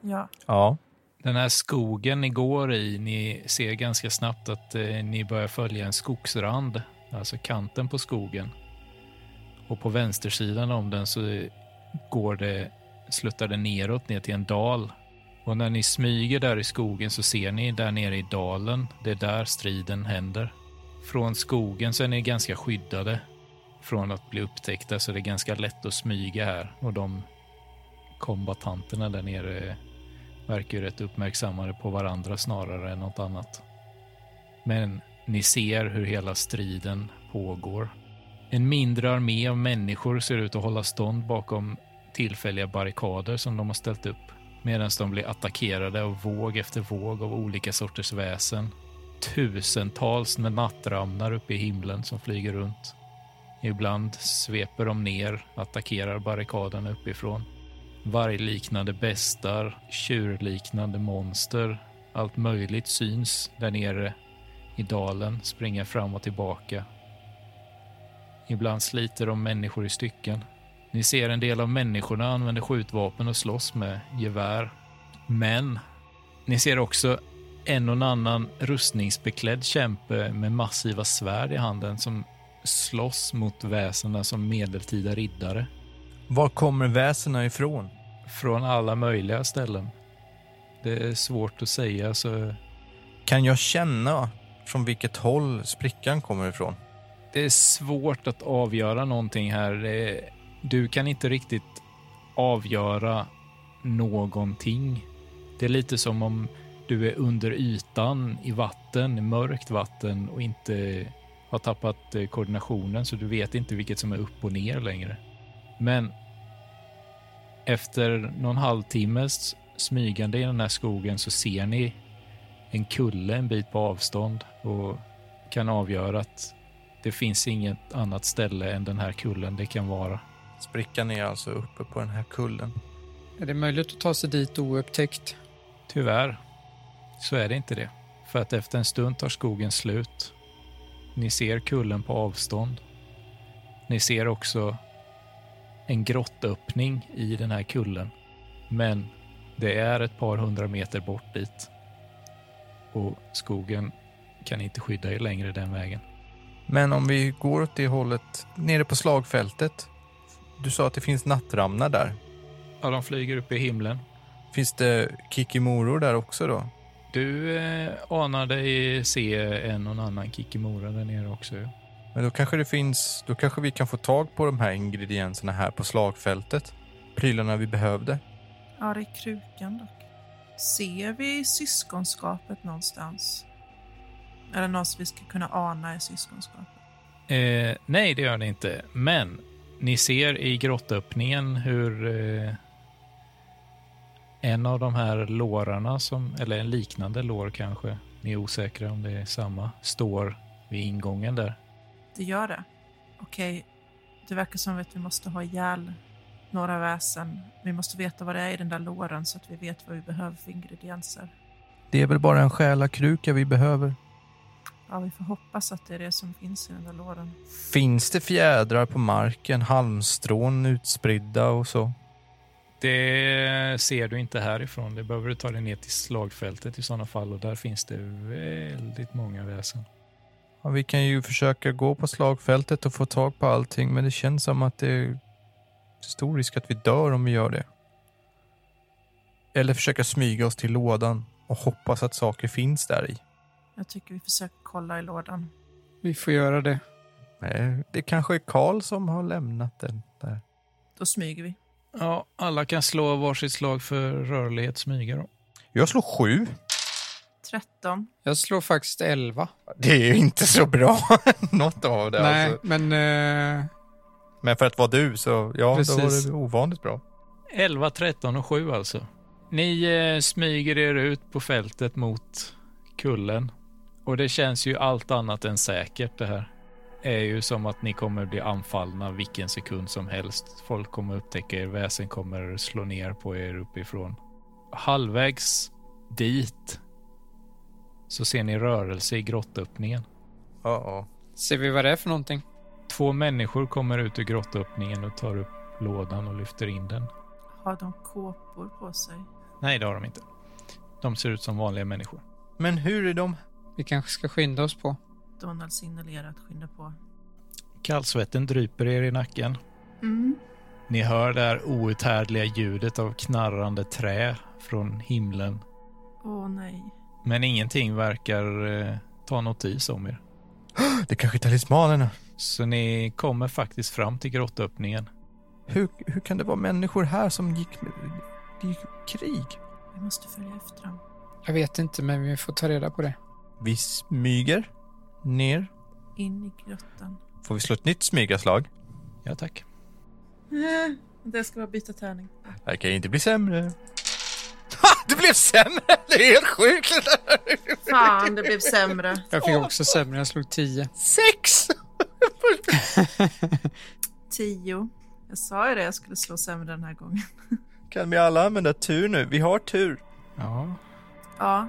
Ja. Ja. Den här skogen ni går i, ni ser ganska snabbt att eh, ni börjar följa en skogsrand, alltså kanten på skogen. Och på vänstersidan om den så går det, sluttar det neråt ner till en dal. Och när ni smyger där i skogen så ser ni där nere i dalen, det är där striden händer. Från skogen så är ni ganska skyddade från att bli upptäckta så det är ganska lätt att smyga här och de kombatanterna där nere verkar ju rätt uppmärksammade på varandra snarare än något annat. Men ni ser hur hela striden pågår En mindre armé av människor ser ut att hålla stånd bakom tillfälliga barrikader som de har ställt upp medan de blir attackerade av våg efter våg av olika sorters väsen. Tusentals med nattramnar uppe i himlen som flyger runt. Ibland sveper de ner, attackerar barrikaderna uppifrån. Vargliknande bestar, tjurliknande monster, allt möjligt syns där nere i dalen, springer fram och tillbaka. Ibland sliter de människor i stycken. Ni ser en del av människorna använder skjutvapen och slåss med gevär. Men ni ser också en och en annan rustningsbeklädd kämpe med massiva svärd i handen som slåss mot väsena som medeltida riddare. Var kommer väsena ifrån? Från alla möjliga ställen. Det är svårt att säga, så Kan jag känna från vilket håll sprickan kommer ifrån? det är svårt att avgöra någonting här. Det är- Du kan inte riktigt avgöra någonting. Det är lite som om du är under ytan i vatten, i mörkt vatten och inte har tappat eh, koordinationen så du vet inte vilket som är upp och ner längre. Men efter någon halvtimmes smygande i den här skogen så ser ni en kulle en bit på avstånd och kan avgöra att det finns inget annat ställe än den här kullen det kan vara. Sprickan är alltså uppe på den här kullen. Är det möjligt att ta sig dit oupptäckt? Tyvärr så är det inte det. För att efter en stund tar skogen slut. Ni ser kullen på avstånd. Ni ser också en grottöppning i den här kullen. Men det är ett par hundra meter bort dit. Och skogen kan inte skydda er längre den vägen. Men om vi går åt det hållet, nere på slagfältet. Du sa att det finns nattramnar där. Ja, de flyger upp i himlen. Finns det kikimoror där också då? Du eh, anar dig se en och annan kikimora där nere också. ja. Men då kanske det finns, då kanske vi kan få tag på de här ingredienserna här på slagfältet. Prylarna vi behövde. Ja, det är krukan dock. Ser vi syskonskapet någonstans? Eller någon som vi ska kunna ana i syskonskapet? Eh, nej, det gör ni inte. Men ni ser i grottöppningen hur eh, en av de här lårarna, som, eller en liknande lår kanske, ni är osäkra om det är samma, står vid ingången där. Det gör det. Okej, det verkar som att vi måste ha ihjäl några väsen. Vi måste veta vad det är i den där låren så att vi vet vad vi behöver för ingredienser. Det är väl bara en själakruka vi behöver. Ja, vi får hoppas att det är det som finns i den där låren. Finns det fjädrar på marken, halmstrån utspridda och så? Det ser du inte härifrån. Det behöver du ta dig ner till slagfältet i sådana fall och där finns det väldigt många väsen. Ja, vi kan ju försöka gå på slagfältet och få tag på allting men det känns som att det är stor risk att vi dör om vi gör det. Eller försöka smyga oss till lådan och hoppas att saker finns där i. Jag tycker vi försöker kolla i lådan. Vi får göra det. Nej, det kanske är Karl som har lämnat den där. Då smyger vi. Ja, alla kan slå varsitt slag för rörlighet smyga då. Jag slår sju. 13. Jag slår faktiskt 11. Det är ju inte så bra, [LAUGHS] något av det. Nej, Alltså. men eh, Men för att vara du så, ja, då var Precis. det ovanligt bra. 11, 13 och 7 alltså. Ni eh, smyger er ut på fältet mot kullen. Och det känns ju allt annat än säkert det här. är ju som att ni kommer bli anfallna vilken sekund som helst. Folk kommer upptäcka er, väsen kommer slå ner på er uppifrån. Halvvägs dit så ser ni rörelse i grottöppningen. Ja, ja. ser vi vad det är för någonting? Två människor kommer ut ur grottöppningen och tar upp lådan och lyfter in den. Har de kåpor på sig? Nej, det har de inte. De ser ut som vanliga människor. Men hur är de? Vi kanske ska skynda oss på. Donald signalerar att skynda på. Kallsvetten dryper er i nacken. Mm. Ni hör det här outhärdliga ljudet av knarrande trä från himlen. Åh nej. Men ingenting verkar eh, ta notis om er. Det kanske är talismanerna. Så ni kommer faktiskt fram till grottöppningen. Hur, hur kan det vara människor här som gick, med, gick krig? Vi måste följa efter dem. Jag vet inte, men vi får ta reda på det. Vi smyger ner. In i grottan. Får vi slå ett nytt smygaslag? Ja, tack. Eh, Det ska vara byta tärning. Det kan ju inte bli sämre. Ha! Det blev sämre! Det är helt sjukt! Fan, det blev [LAUGHS] sämre. Jag fick också sämre, jag slog 10. Sex! Tio. Jag sa ju det, jag skulle slå sämre den här gången. Kan vi alla använda tur nu? Vi har tur. Ja. Ja.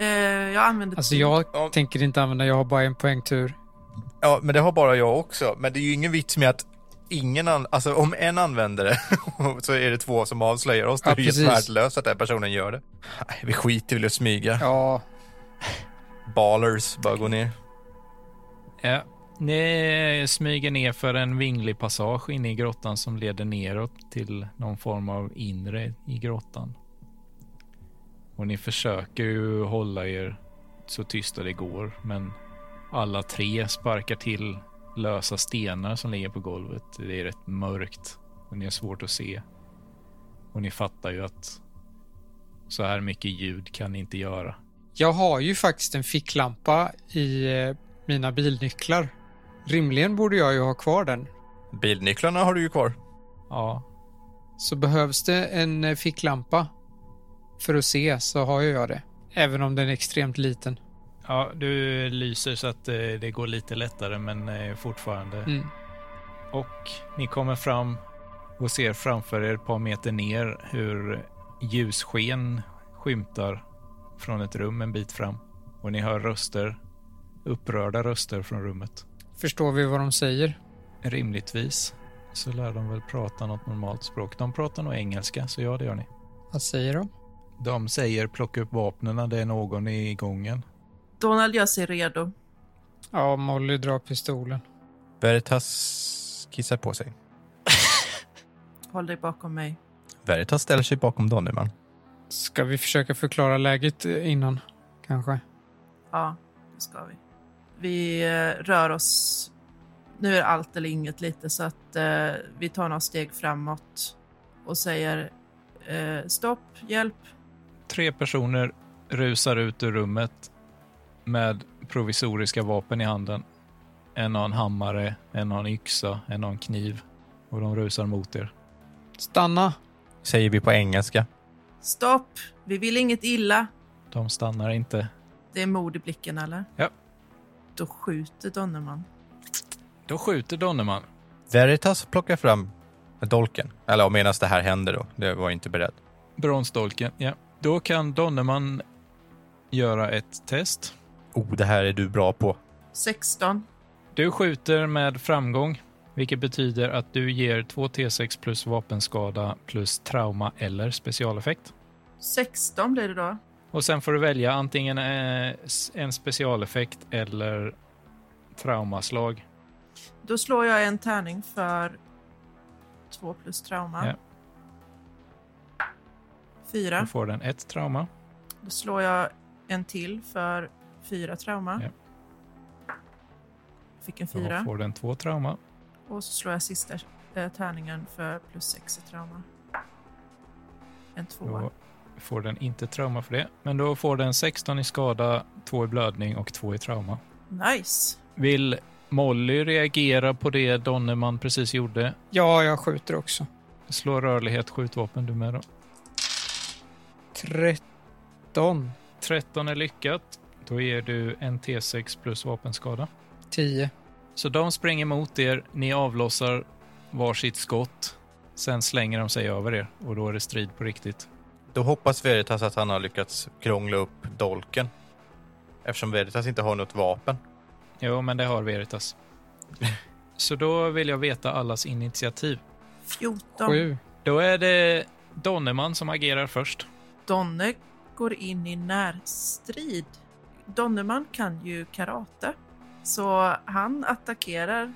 Eh, jag använder Alltså tio. jag Ja. tänker inte använda, jag har bara en poängtur. Ja, men det har bara jag också. Men det är ju ingen vits med att ingen an... Alltså om en använder det [LAUGHS] så är det två som avslöjar oss. Det Ja, är ju helt precis. värdelöst att den personen gör det. Nej, Vi skiter väl i att smyga. Ja, Ballers, bara gå ner. ja. Ni smyger ner för en vinglig passage in i grottan som leder neråt till någon form av inre i grottan. Och ni försöker ju hålla er så tysta det går, men alla tre sparkar till lösa stenar som ligger på golvet. Det är rätt mörkt och ni har svårt att se. Och ni fattar ju att så här mycket ljud kan ni inte göra. jag har ju faktiskt en ficklampa i eh, mina bilnycklar. Rimligen borde jag ju ha kvar den. Bilnycklarna har du ju kvar. Ja, Så behövs det en eh, ficklampa för att se så har jag det. Även om den är extremt liten. Ja, du lyser så att eh, det går lite lättare, men eh, fortfarande. Mm. Och ni kommer fram och ser framför er ett par meter ner hur ljussken skymtar från ett rum en bit fram. Och ni hör röster, upprörda röster från rummet. Förstår vi vad de säger? Rimligtvis så lär de väl prata något normalt språk. De pratar nog engelska, så ja, det gör ni. Vad säger de? De säger plocka upp vapnen, det är någon i gången. Donald gör sig redo. Ja, Molly drar pistolen. Veritas kissar på sig. Håll dig bakom mig. Veritas ställer sig bakom Donnerman. Ska vi försöka förklara läget eh, innan? Kanske. Ja, det ska vi. Vi eh, rör oss. Nu är allt eller inget lite så att eh, vi tar några steg framåt och säger eh, stopp, hjälp. Tre personer rusar ut ur rummet med provisoriska vapen i handen. En har en hammare, en har en yxa, en har en kniv och de rusar mot er. Stanna! Säger vi på engelska. Stopp, vi vill inget illa. De stannar inte. Det är mod i blicken eller? Ja. Då skjuter Donnerman. Då skjuter Donnerman. Veritas plockar fram dolken. Eller medan det här händer då. Det var jag inte beredd. Bronsdolken, ja. Då kan Donnerman göra ett test. Oh, det här är du bra på. 16. Du skjuter med framgång, vilket betyder att du ger 2 T6 plus vapenskada plus trauma eller specialeffekt. 16 blir det då. Och sen får du välja antingen eh, s- en specialeffekt eller traumaslag. Då slår jag en tärning för 2 plus trauma. Ja. Du 4. får den ett trauma. Då slår jag en till för 4 trauma. Ja. Fick en Då 4. får den två trauma. Och så slår jag sista eh, tärningen för plus 6 i trauma. En 2. Då får den inte trauma för det. Men då får den 16 i skada, 2 i blödning och 2 i trauma. Nice! Vill Molly reagera på det Donnerman precis gjorde? Ja, jag skjuter också. Slå rörlighet, skjutvapen du med då. 13. 13 är lyckat. Då ger du en T6 plus vapenskada. 10. Så de springer mot er, ni avlossar varsitt skott. Sen slänger de sig över er och då är det strid på riktigt. Då hoppas Veritas att han har lyckats krångla upp dolken. Eftersom Veritas inte har något vapen. Jo, men det har Veritas. Så då vill jag veta allas initiativ. 14. 7. Då är det Donnerman som agerar först. Donne går in i närstrid. Donnerman kan ju karate. Så han attackerar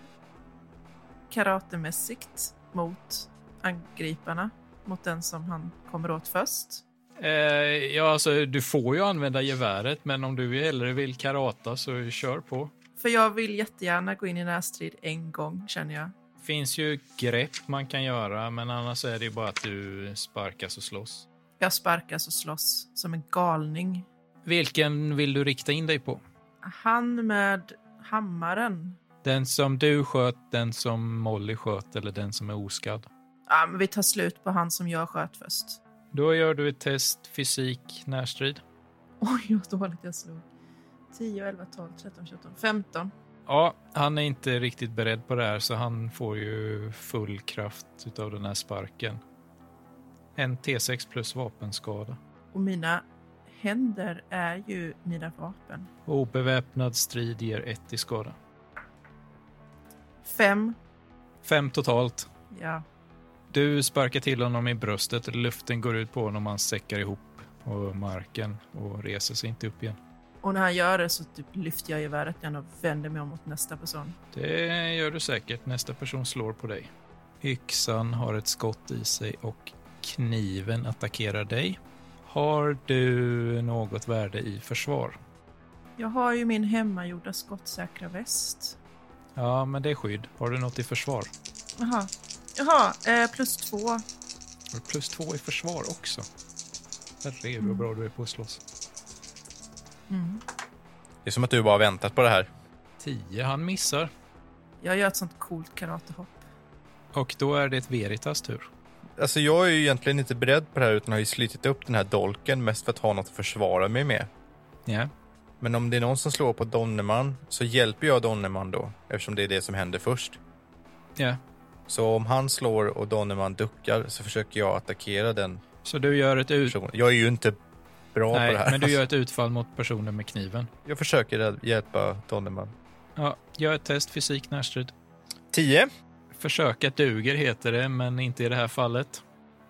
karatemässigt mot angriparna. Mot den som han kommer åt först. Eh, ja, alltså, du får ju använda geväret, men om du hellre vill karata så kör på. För jag vill jättegärna gå in i närstrid en gång känner jag. Finns ju grepp man kan göra, men annars är det ju bara att du sparkas och slåss. Jag sparkas och slåss som en galning. Vilken vill du rikta in dig på? Han med hammaren. Den som du sköt, den som Molly sköt eller den som är oskadd. Ja, men vi tar slut på han som jag sköt först. Då gör du ett test fysik närstrid. [LAUGHS] Oj, vad dåligt jag slog. 10, 11, 12, 13, 14, 15. Ja, han är inte riktigt beredd på det här så han får ju full kraft utav den här sparken. En T6 plus vapenskada. Och mina händer är ju mina vapen. Och obeväpnad strid ger ett i skada. Fem. Fem totalt. Ja. Du sparkar till honom i bröstet, luften går ut på honom, han säckar ihop på marken och reser sig inte upp igen. Och när han gör det så typ lyfter jag geväret igen och vänder mig om mot nästa person. Det gör du säkert, nästa person slår på dig. Yxan har ett skott i sig och kniven attackerar dig. Har du något värde i försvar? Jag har ju min hemmagjorda skottsäkra väst. Ja, men det är skydd. Har du något i försvar? Jaha. Jaha, eh, plus två. Har du plus två i försvar också? Herregud vad bra du är på att slåss. Mm. Det är som att du bara har väntat på det här. Tio, han missar. Jag gör ett sånt coolt karatehopp. Och då är det Veritas tur. Alltså jag är ju egentligen inte beredd på det här utan har ju slitit upp den här dolken mest för att ha något att försvara mig med. Ja. Men om det är någon som slår på Donnerman så hjälper jag Donnerman då eftersom det är det som händer först. Ja. Så om han slår och Donnerman duckar så försöker jag attackera den Så du gör ett ut... personen. Jag är ju inte bra på det Nej, här. alltså. men du gör ett utfall mot personen med kniven. [LAUGHS] Jag försöker rädd- hjälpa Donnerman. Ja, gör ett test fysik närstrid. 10. Försöka duger heter det, men inte i det här fallet.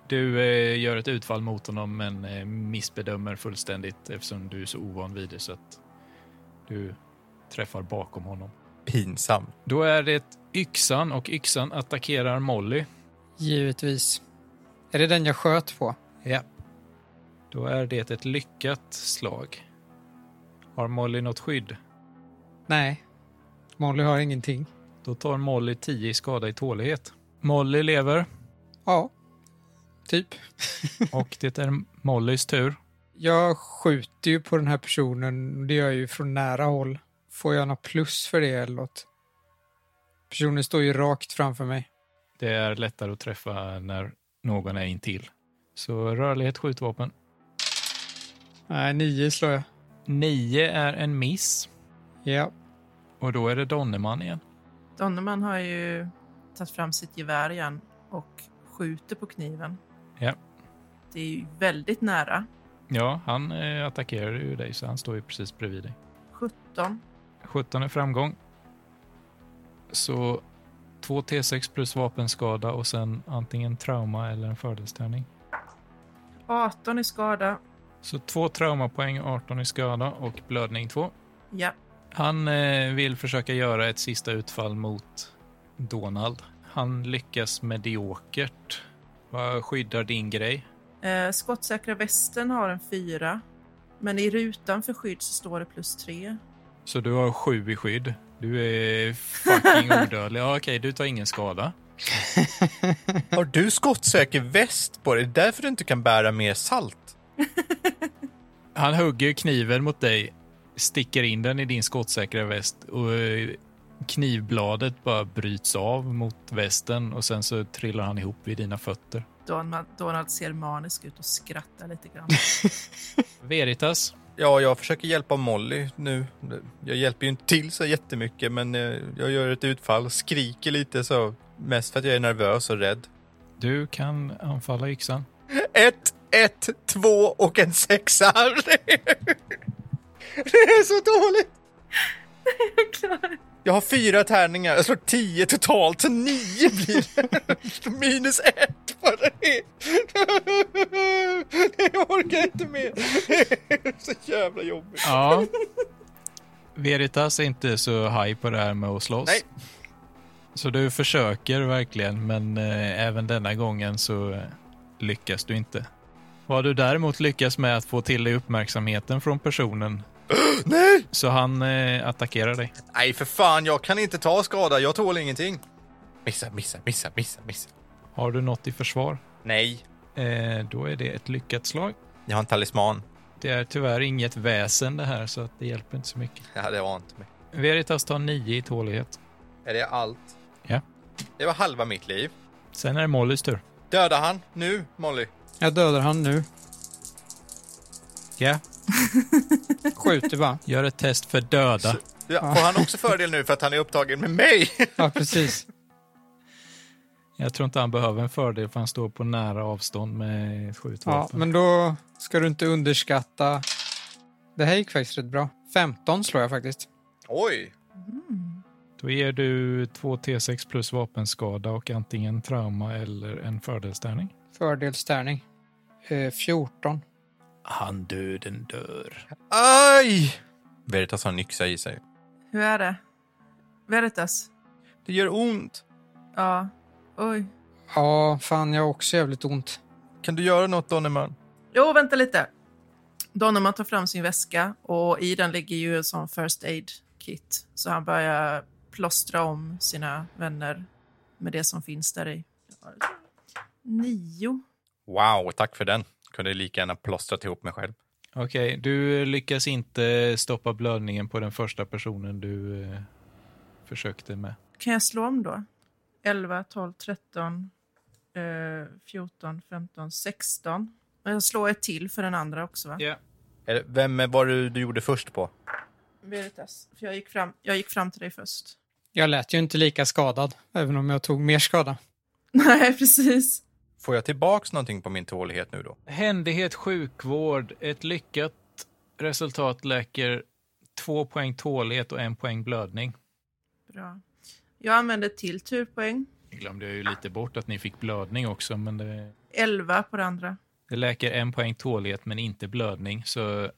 Du eh, gör ett utfall mot honom, men eh, missbedömer fullständigt eftersom du är så ovan vid det så att du träffar bakom honom. Pinsam. Då är det yxan och yxan attackerar Molly. Givetvis. Är det den jag sköt på? Ja. Då är det ett lyckat slag. Har Molly något skydd? Nej. Molly har ingenting. Då tar Molly 10 i skada i tålighet. Molly lever Ja. Typ. och det är Mollys tur. Jag skjuter ju på den här personen. Det gör jag ju från nära håll. Får jag något plus för det eller något? Personen står ju rakt framför mig. Det är lättare att träffa när någon är intill. Så rörlighet, skjutvapen. Nej, nio slår jag. 9 är en miss Ja. och då är det Donnerman igen. Donnerman har ju tagit fram sitt gevär igen och skjuter på kniven. Ja. Det är ju väldigt nära. Ja, han eh, attackerar ju dig så han står ju precis bredvid dig. 17. 17 är framgång. Så 2 T6 plus vapenskada och sen antingen trauma eller en fördelstärning. 18 i skada. Så 2 traumapoäng, 18 i skada och blödning 2. Ja. Han eh, vill försöka göra ett sista utfall mot Donald. Han lyckas mediokert. Vad skyddar din grej? Eh, skottsäkra västen har en 4. Men i rutan för skydd så står det plus 3. Så du har sju i skydd. Du är fucking odödlig. Ja, okej, du tar ingen skada. Har du skottsäker väst på dig? Det är därför du inte kan bära mer salt. Han hugger kniven mot dig, sticker in den i din skottsäkra väst och eh, knivbladet bara bryts av mot västen och sen så trillar han ihop vid dina fötter. Donald, Donald ser manisk ut och skrattar lite grann. Veritas, Ja, jag försöker hjälpa Molly nu. Jag hjälper ju inte till så jättemycket, men eh, jag gör ett utfall, skriker lite så. Mest för att jag är nervös och rädd. du kan anfalla yxan. Ett, ett, två och en sexa. [LAUGHS] Det är så dåligt. Jag har fyra tärningar. Jag slår tio totalt, så nio blir det. [LAUGHS] Minus ett på det. Jag orkar inte mer. Det är så jävla jobbigt. Ja. [LAUGHS] Veritas är inte så high på det här med att slåss. Nej. Så du försöker verkligen, men eh, även denna gången så eh, lyckas du inte. Vad du däremot lyckas med att få till dig uppmärksamheten från personen, Nej! så han eh, attackerar dig. Nej, för fan. Jag kan inte ta skada. Jag tål ingenting. Missa, missa, missa, missa, missa. Har du något i försvar? Nej. Eh, då är det ett lyckat slag. Jag har en talisman. Det är tyvärr inget väsen det här, så att det hjälper inte så mycket. Ja, det var inte mig. Veritas tar 9 i tålighet. Är det allt? Ja. Det var halva mitt liv. Sen är det Mollys tur. Döda han nu, Molly. Jag dödar han nu. Ja. Skjuter va? Gör ett test för döda. Ja, får han också fördel nu för att han är upptagen med mig? [LAUGHS] Ja, precis. Jag tror inte han behöver en fördel för han står på nära avstånd med ett Ja, skjutvapen. men då ska du inte underskatta... Det här gick faktiskt rätt bra. 15 slår jag faktiskt. Oj! Då ger du 2 T6 plus vapenskada och antingen trauma eller en fördelstärning. Fördelstärning. Eh, 14. Han döden dör. Aj! Veritas har en yxa i sig. Hur är det? Veritas? Det gör ont. Ja. Oj. Ja, fan jag har också jävligt ont. Kan du göra något, Donnerman? Jo, vänta lite. Donovan tar fram sin väska och i den ligger ju en sån first aid kit. Så han börjar plåstra om sina vänner med det som finns där i. Nio. Wow, tack för den. Kunde lika gärna plåstrat ihop mig själv. Okej, du lyckas inte stoppa blödningen på den första personen du eh, försökte med. Kan jag slå om då? 11, 12, 13, eh, 14, 15, 16. Och jag slår ett till för den andra också va? Eller, Vem var du, du gjorde först på? Veritas, för jag gick, fram, jag gick fram till dig först. [LAUGHS] Jag lät ju inte lika skadad, även om jag tog mer skada. Nej, precis. Får jag tillbaks någonting på min tålighet nu då? Händighet sjukvård. Ett lyckat resultat läker två poäng tålighet och en poäng blödning. Bra. Jag använder till turpoäng. Det glömde jag ju lite bort att ni fick blödning också, men det, 11 på det andra. det läker en poäng tålighet men inte blödning, så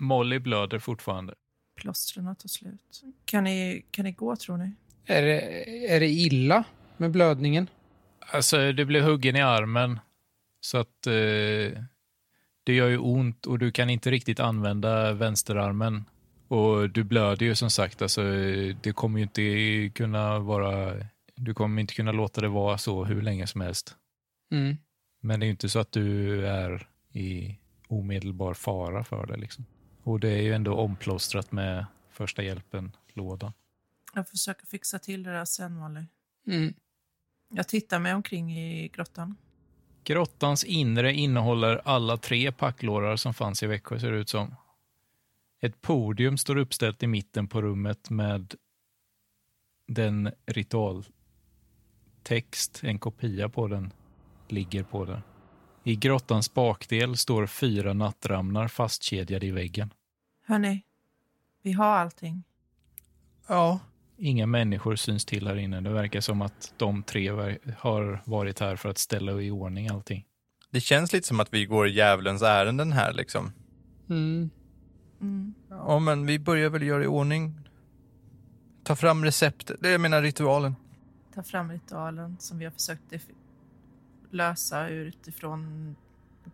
Molly blöder fortfarande. Plåstren tar slut. Kan ni, kan ni gå tror ni? Är det, är det illa med blödningen? Alltså, du blev huggen i armen, så att eh, det gör ju ont och du kan inte riktigt använda vänsterarmen. Och du blöder ju som sagt, alltså, eh, det kommer ju inte kunna vara... Du kommer inte kunna låta det vara så hur länge som helst. Mm. Men det är ju inte så att du är i omedelbar fara för det. Liksom. Och det är ju ändå omplåstrat med första hjälpen-lådan. Jag försöker fixa till det där sen Molly. Mm. Jag tittar mig omkring i grottan. Grottans inre innehåller alla tre packlårar som fanns i Växjö, ser det ut som. Ett podium står uppställt i mitten på rummet med den ritualtext, en kopia på den, ligger på den. I grottans bakdel står fyra nattramnar fastkedjade i väggen. Hörni, vi har allting. Ja. Inga människor syns till här inne. Det verkar som att de tre ver- har varit här för att ställa i ordning allting. Det känns lite som att vi går djävulens ärenden här liksom. Mm. Mm. Ja, men vi börjar väl göra i ordning. Ta fram receptet, det jag menar ritualen. Ta fram ritualen som vi har försökt def- lösa utifrån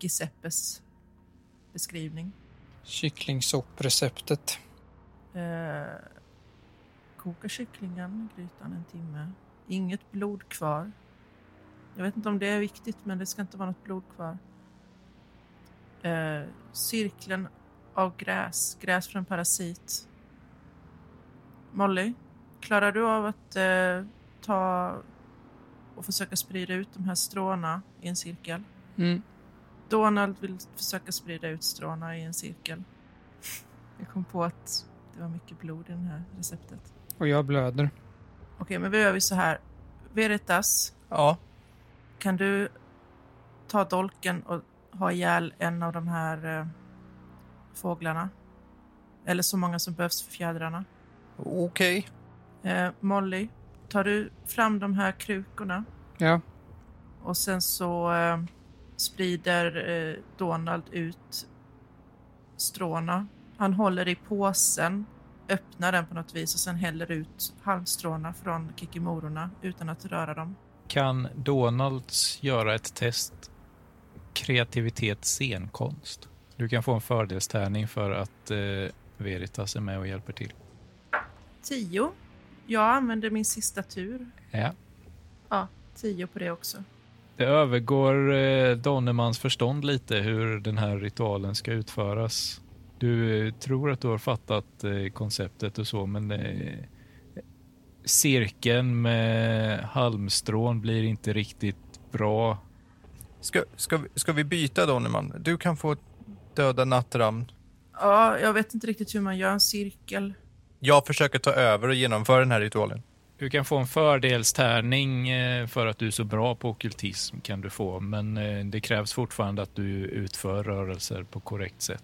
Giuseppes beskrivning. Kycklingsopp-receptet. Eh, koka kycklingen i grytan en timme. Inget blod kvar. Jag vet inte om det är viktigt, men det ska inte vara något blod kvar. Eh, cirkeln av gräs. Gräs från parasit. Molly, klarar du av att eh, ta och försöka sprida ut de här stråna i en cirkel? Mm. Donald vill försöka sprida ut stråna i en cirkel. Jag kom på att det var mycket blod i det här receptet. Och jag blöder. Okej, men vi gör vi så här. Veritas, Ja, kan du ta dolken och ha ihjäl en av de här eh, fåglarna? Eller så många som behövs för fjädrarna. okej. Eh, Molly, tar du fram de här krukorna Ja. och sen så eh, sprider eh, Donald ut stråna. Han håller i påsen, öppnar den på något vis och sen häller ut halmstråna från kikimororna utan att röra dem. Kan Donalds göra ett test kreativitet scenkonst? Du kan få en fördelstärning för att eh, Veritas är med och hjälper till. 10. Jag använder min sista tur. Ja. Ja, 10 på det också. Det övergår eh, Donnermans förstånd lite hur den här ritualen ska utföras. Du eh, tror att du har fattat eh, konceptet och så, men eh, cirkeln med halmstrån blir inte riktigt bra. Ska, ska, vi- ska vi byta då, Nyman? Du kan få döda nattramn. Ja, jag vet inte riktigt hur man gör en cirkel. Jag försöker ta över och genomföra den här ritualen. Du kan få en fördelstärning eh, för att du är så bra på okkultism kan du få, men eh, det krävs fortfarande att du utför rörelser på korrekt sätt.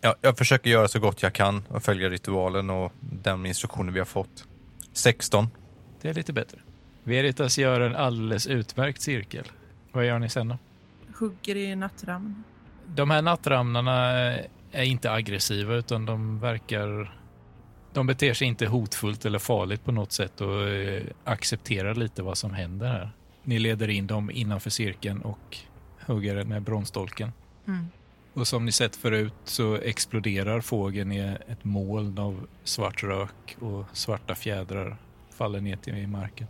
Ja, jag försöker göra så gott jag kan och följa ritualen och den instruktionen vi har fått. 16. Det är lite bättre. Veritas gör en alldeles utmärkt cirkel. Vad gör ni sen då? Hugger i nattramn. De här nattramnarna är inte aggressiva utan de verkar... De beter sig inte hotfullt eller farligt på något sätt och eh, accepterar lite vad som händer här. Ni leder in dem innanför cirkeln och hugger med bronsdolken. Mm. Och som ni sett förut så exploderar fågeln i ett moln av svart rök och svarta fjädrar faller ner till marken.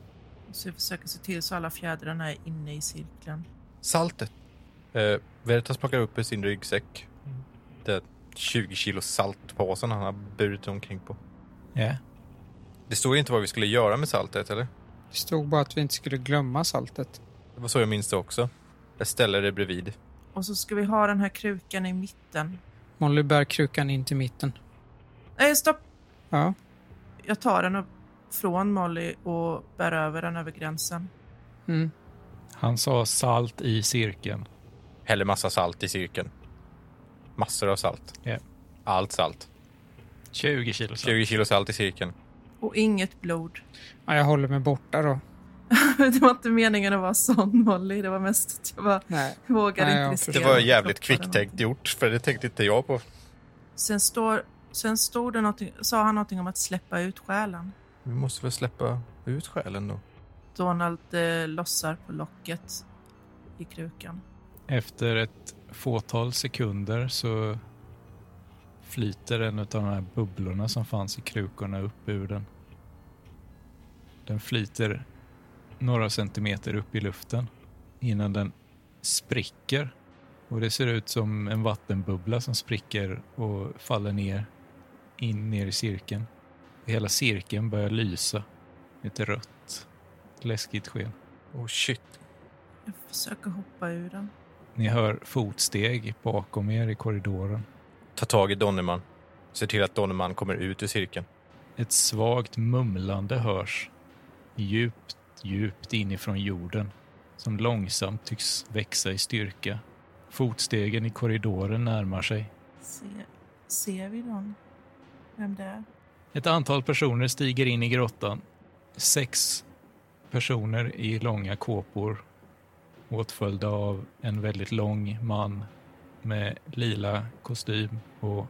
Så vi försöker se till så alla fjädrarna är inne i cirkeln. Saltet. Eh, Veritas plockar upp i sin ryggsäck. Det 20 kilo saltpåsen han har burit omkring på. Ja. Det stod inte vad vi skulle göra med saltet, eller? Det stod bara att vi inte skulle glömma saltet. Det var så jag minns det också. Jag ställer det bredvid. Och så ska vi ha den här krukan i mitten. Molly bär krukan in till mitten. Nej, stopp! Ja, Jag tar den upp från Molly och bär över den över gränsen. mm. Han sa salt i cirkeln. Häller massa salt i cirkeln. Massor av salt. Ja. Allt salt. 20 kilo salt. 20 kilo salt i cirkeln. Och inget blod. [LAUGHS] ja jag håller mig borta då. det var inte meningen att vara sån Molly. Det var mest att jag bara Nej. vågade Nej, inte jag riskera. Det förstår. var att jävligt kloppa den. kvicktänkt gjort, för det tänkte inte jag på. Sen, står, sen stod det någonting, sa han någonting om att släppa ut själen. Vi måste väl släppa ut själen då? Donald eh, lossar på locket i krukan. Efter ett fåtal sekunder så flyter en av de här bubblorna som fanns i krukorna upp ur den. Den flyter några centimeter upp i luften innan den spricker. Och det ser ut som en vattenbubbla som spricker och faller ner, in ner i cirkeln. Hela cirkeln börjar lysa. Lite rött, läskigt sken. Oh shit. Jag försöker hoppa ur den. Ni hör fotsteg bakom er i korridoren. Ta tag i Donnerman. Se till att Donnerman kommer ut ur cirkeln. Ett svagt mumlande hörs djupt, djupt inifrån jorden som långsamt tycks växa i styrka. Fotstegen i korridoren närmar sig. Se, ser vi dem? Vem det är? Ett antal personer stiger in i grottan. Sex personer i långa kåpor åtföljda av en väldigt lång man med lila kostym och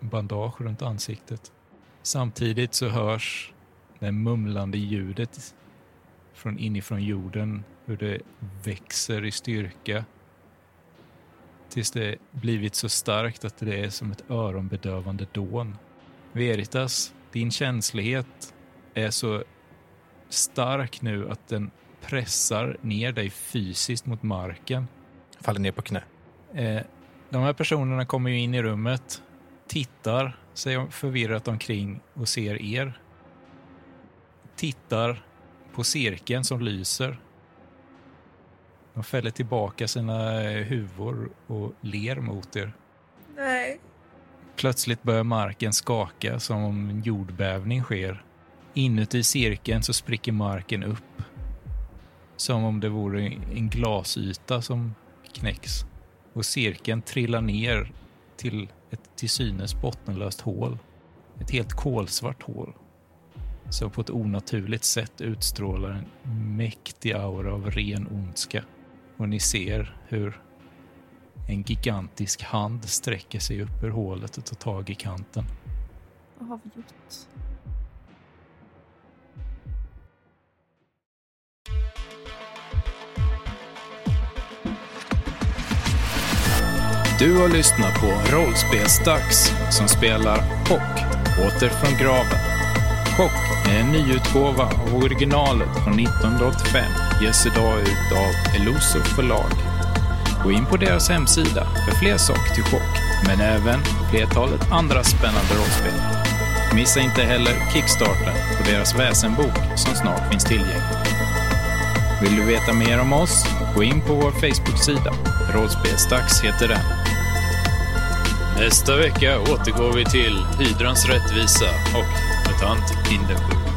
bandage runt ansiktet. Samtidigt så hörs det mumlande ljudet från inifrån jorden hur det växer i styrka tills det blivit så starkt att det är som ett öronbedövande dån. Veritas, din känslighet är så stark nu att den pressar ner dig fysiskt mot marken. Faller ner på knä. Eh, de här personerna kommer ju in i rummet, tittar sig förvirrat omkring och ser er. Tittar på cirkeln som lyser. De fäller tillbaka sina eh, huvor och ler mot er. Nej. Plötsligt börjar marken skaka som om en jordbävning sker. Inuti cirkeln så spricker marken upp. Som om det vore en glasyta som knäcks. Och cirkeln trillar ner till ett till synes bottenlöst hål. Ett helt kolsvart hål. Som på ett onaturligt sätt utstrålar en mäktig aura av ren ondska. Och ni ser hur en gigantisk hand sträcker sig upp ur hålet och tar tag i kanten. Vad har vi gjort? Du har lyssnat på Rollspelsdags som spelar Chock, åter från graven. Chock är en nyutgåva av originalet från 1985. Ges idag ut av Eloso förlag. Gå in på deras hemsida för fler saker till Chock, men även flertalet andra spännande rollspel. Missa inte heller Kickstarten på deras väsenbok som snart finns tillgänglig. Vill du veta mer om oss? Gå in på vår Facebook-sida. Rollspelsdags heter den. Nästa vecka återgår vi till Hydrans rättvisa och MUTANT Hindenburg.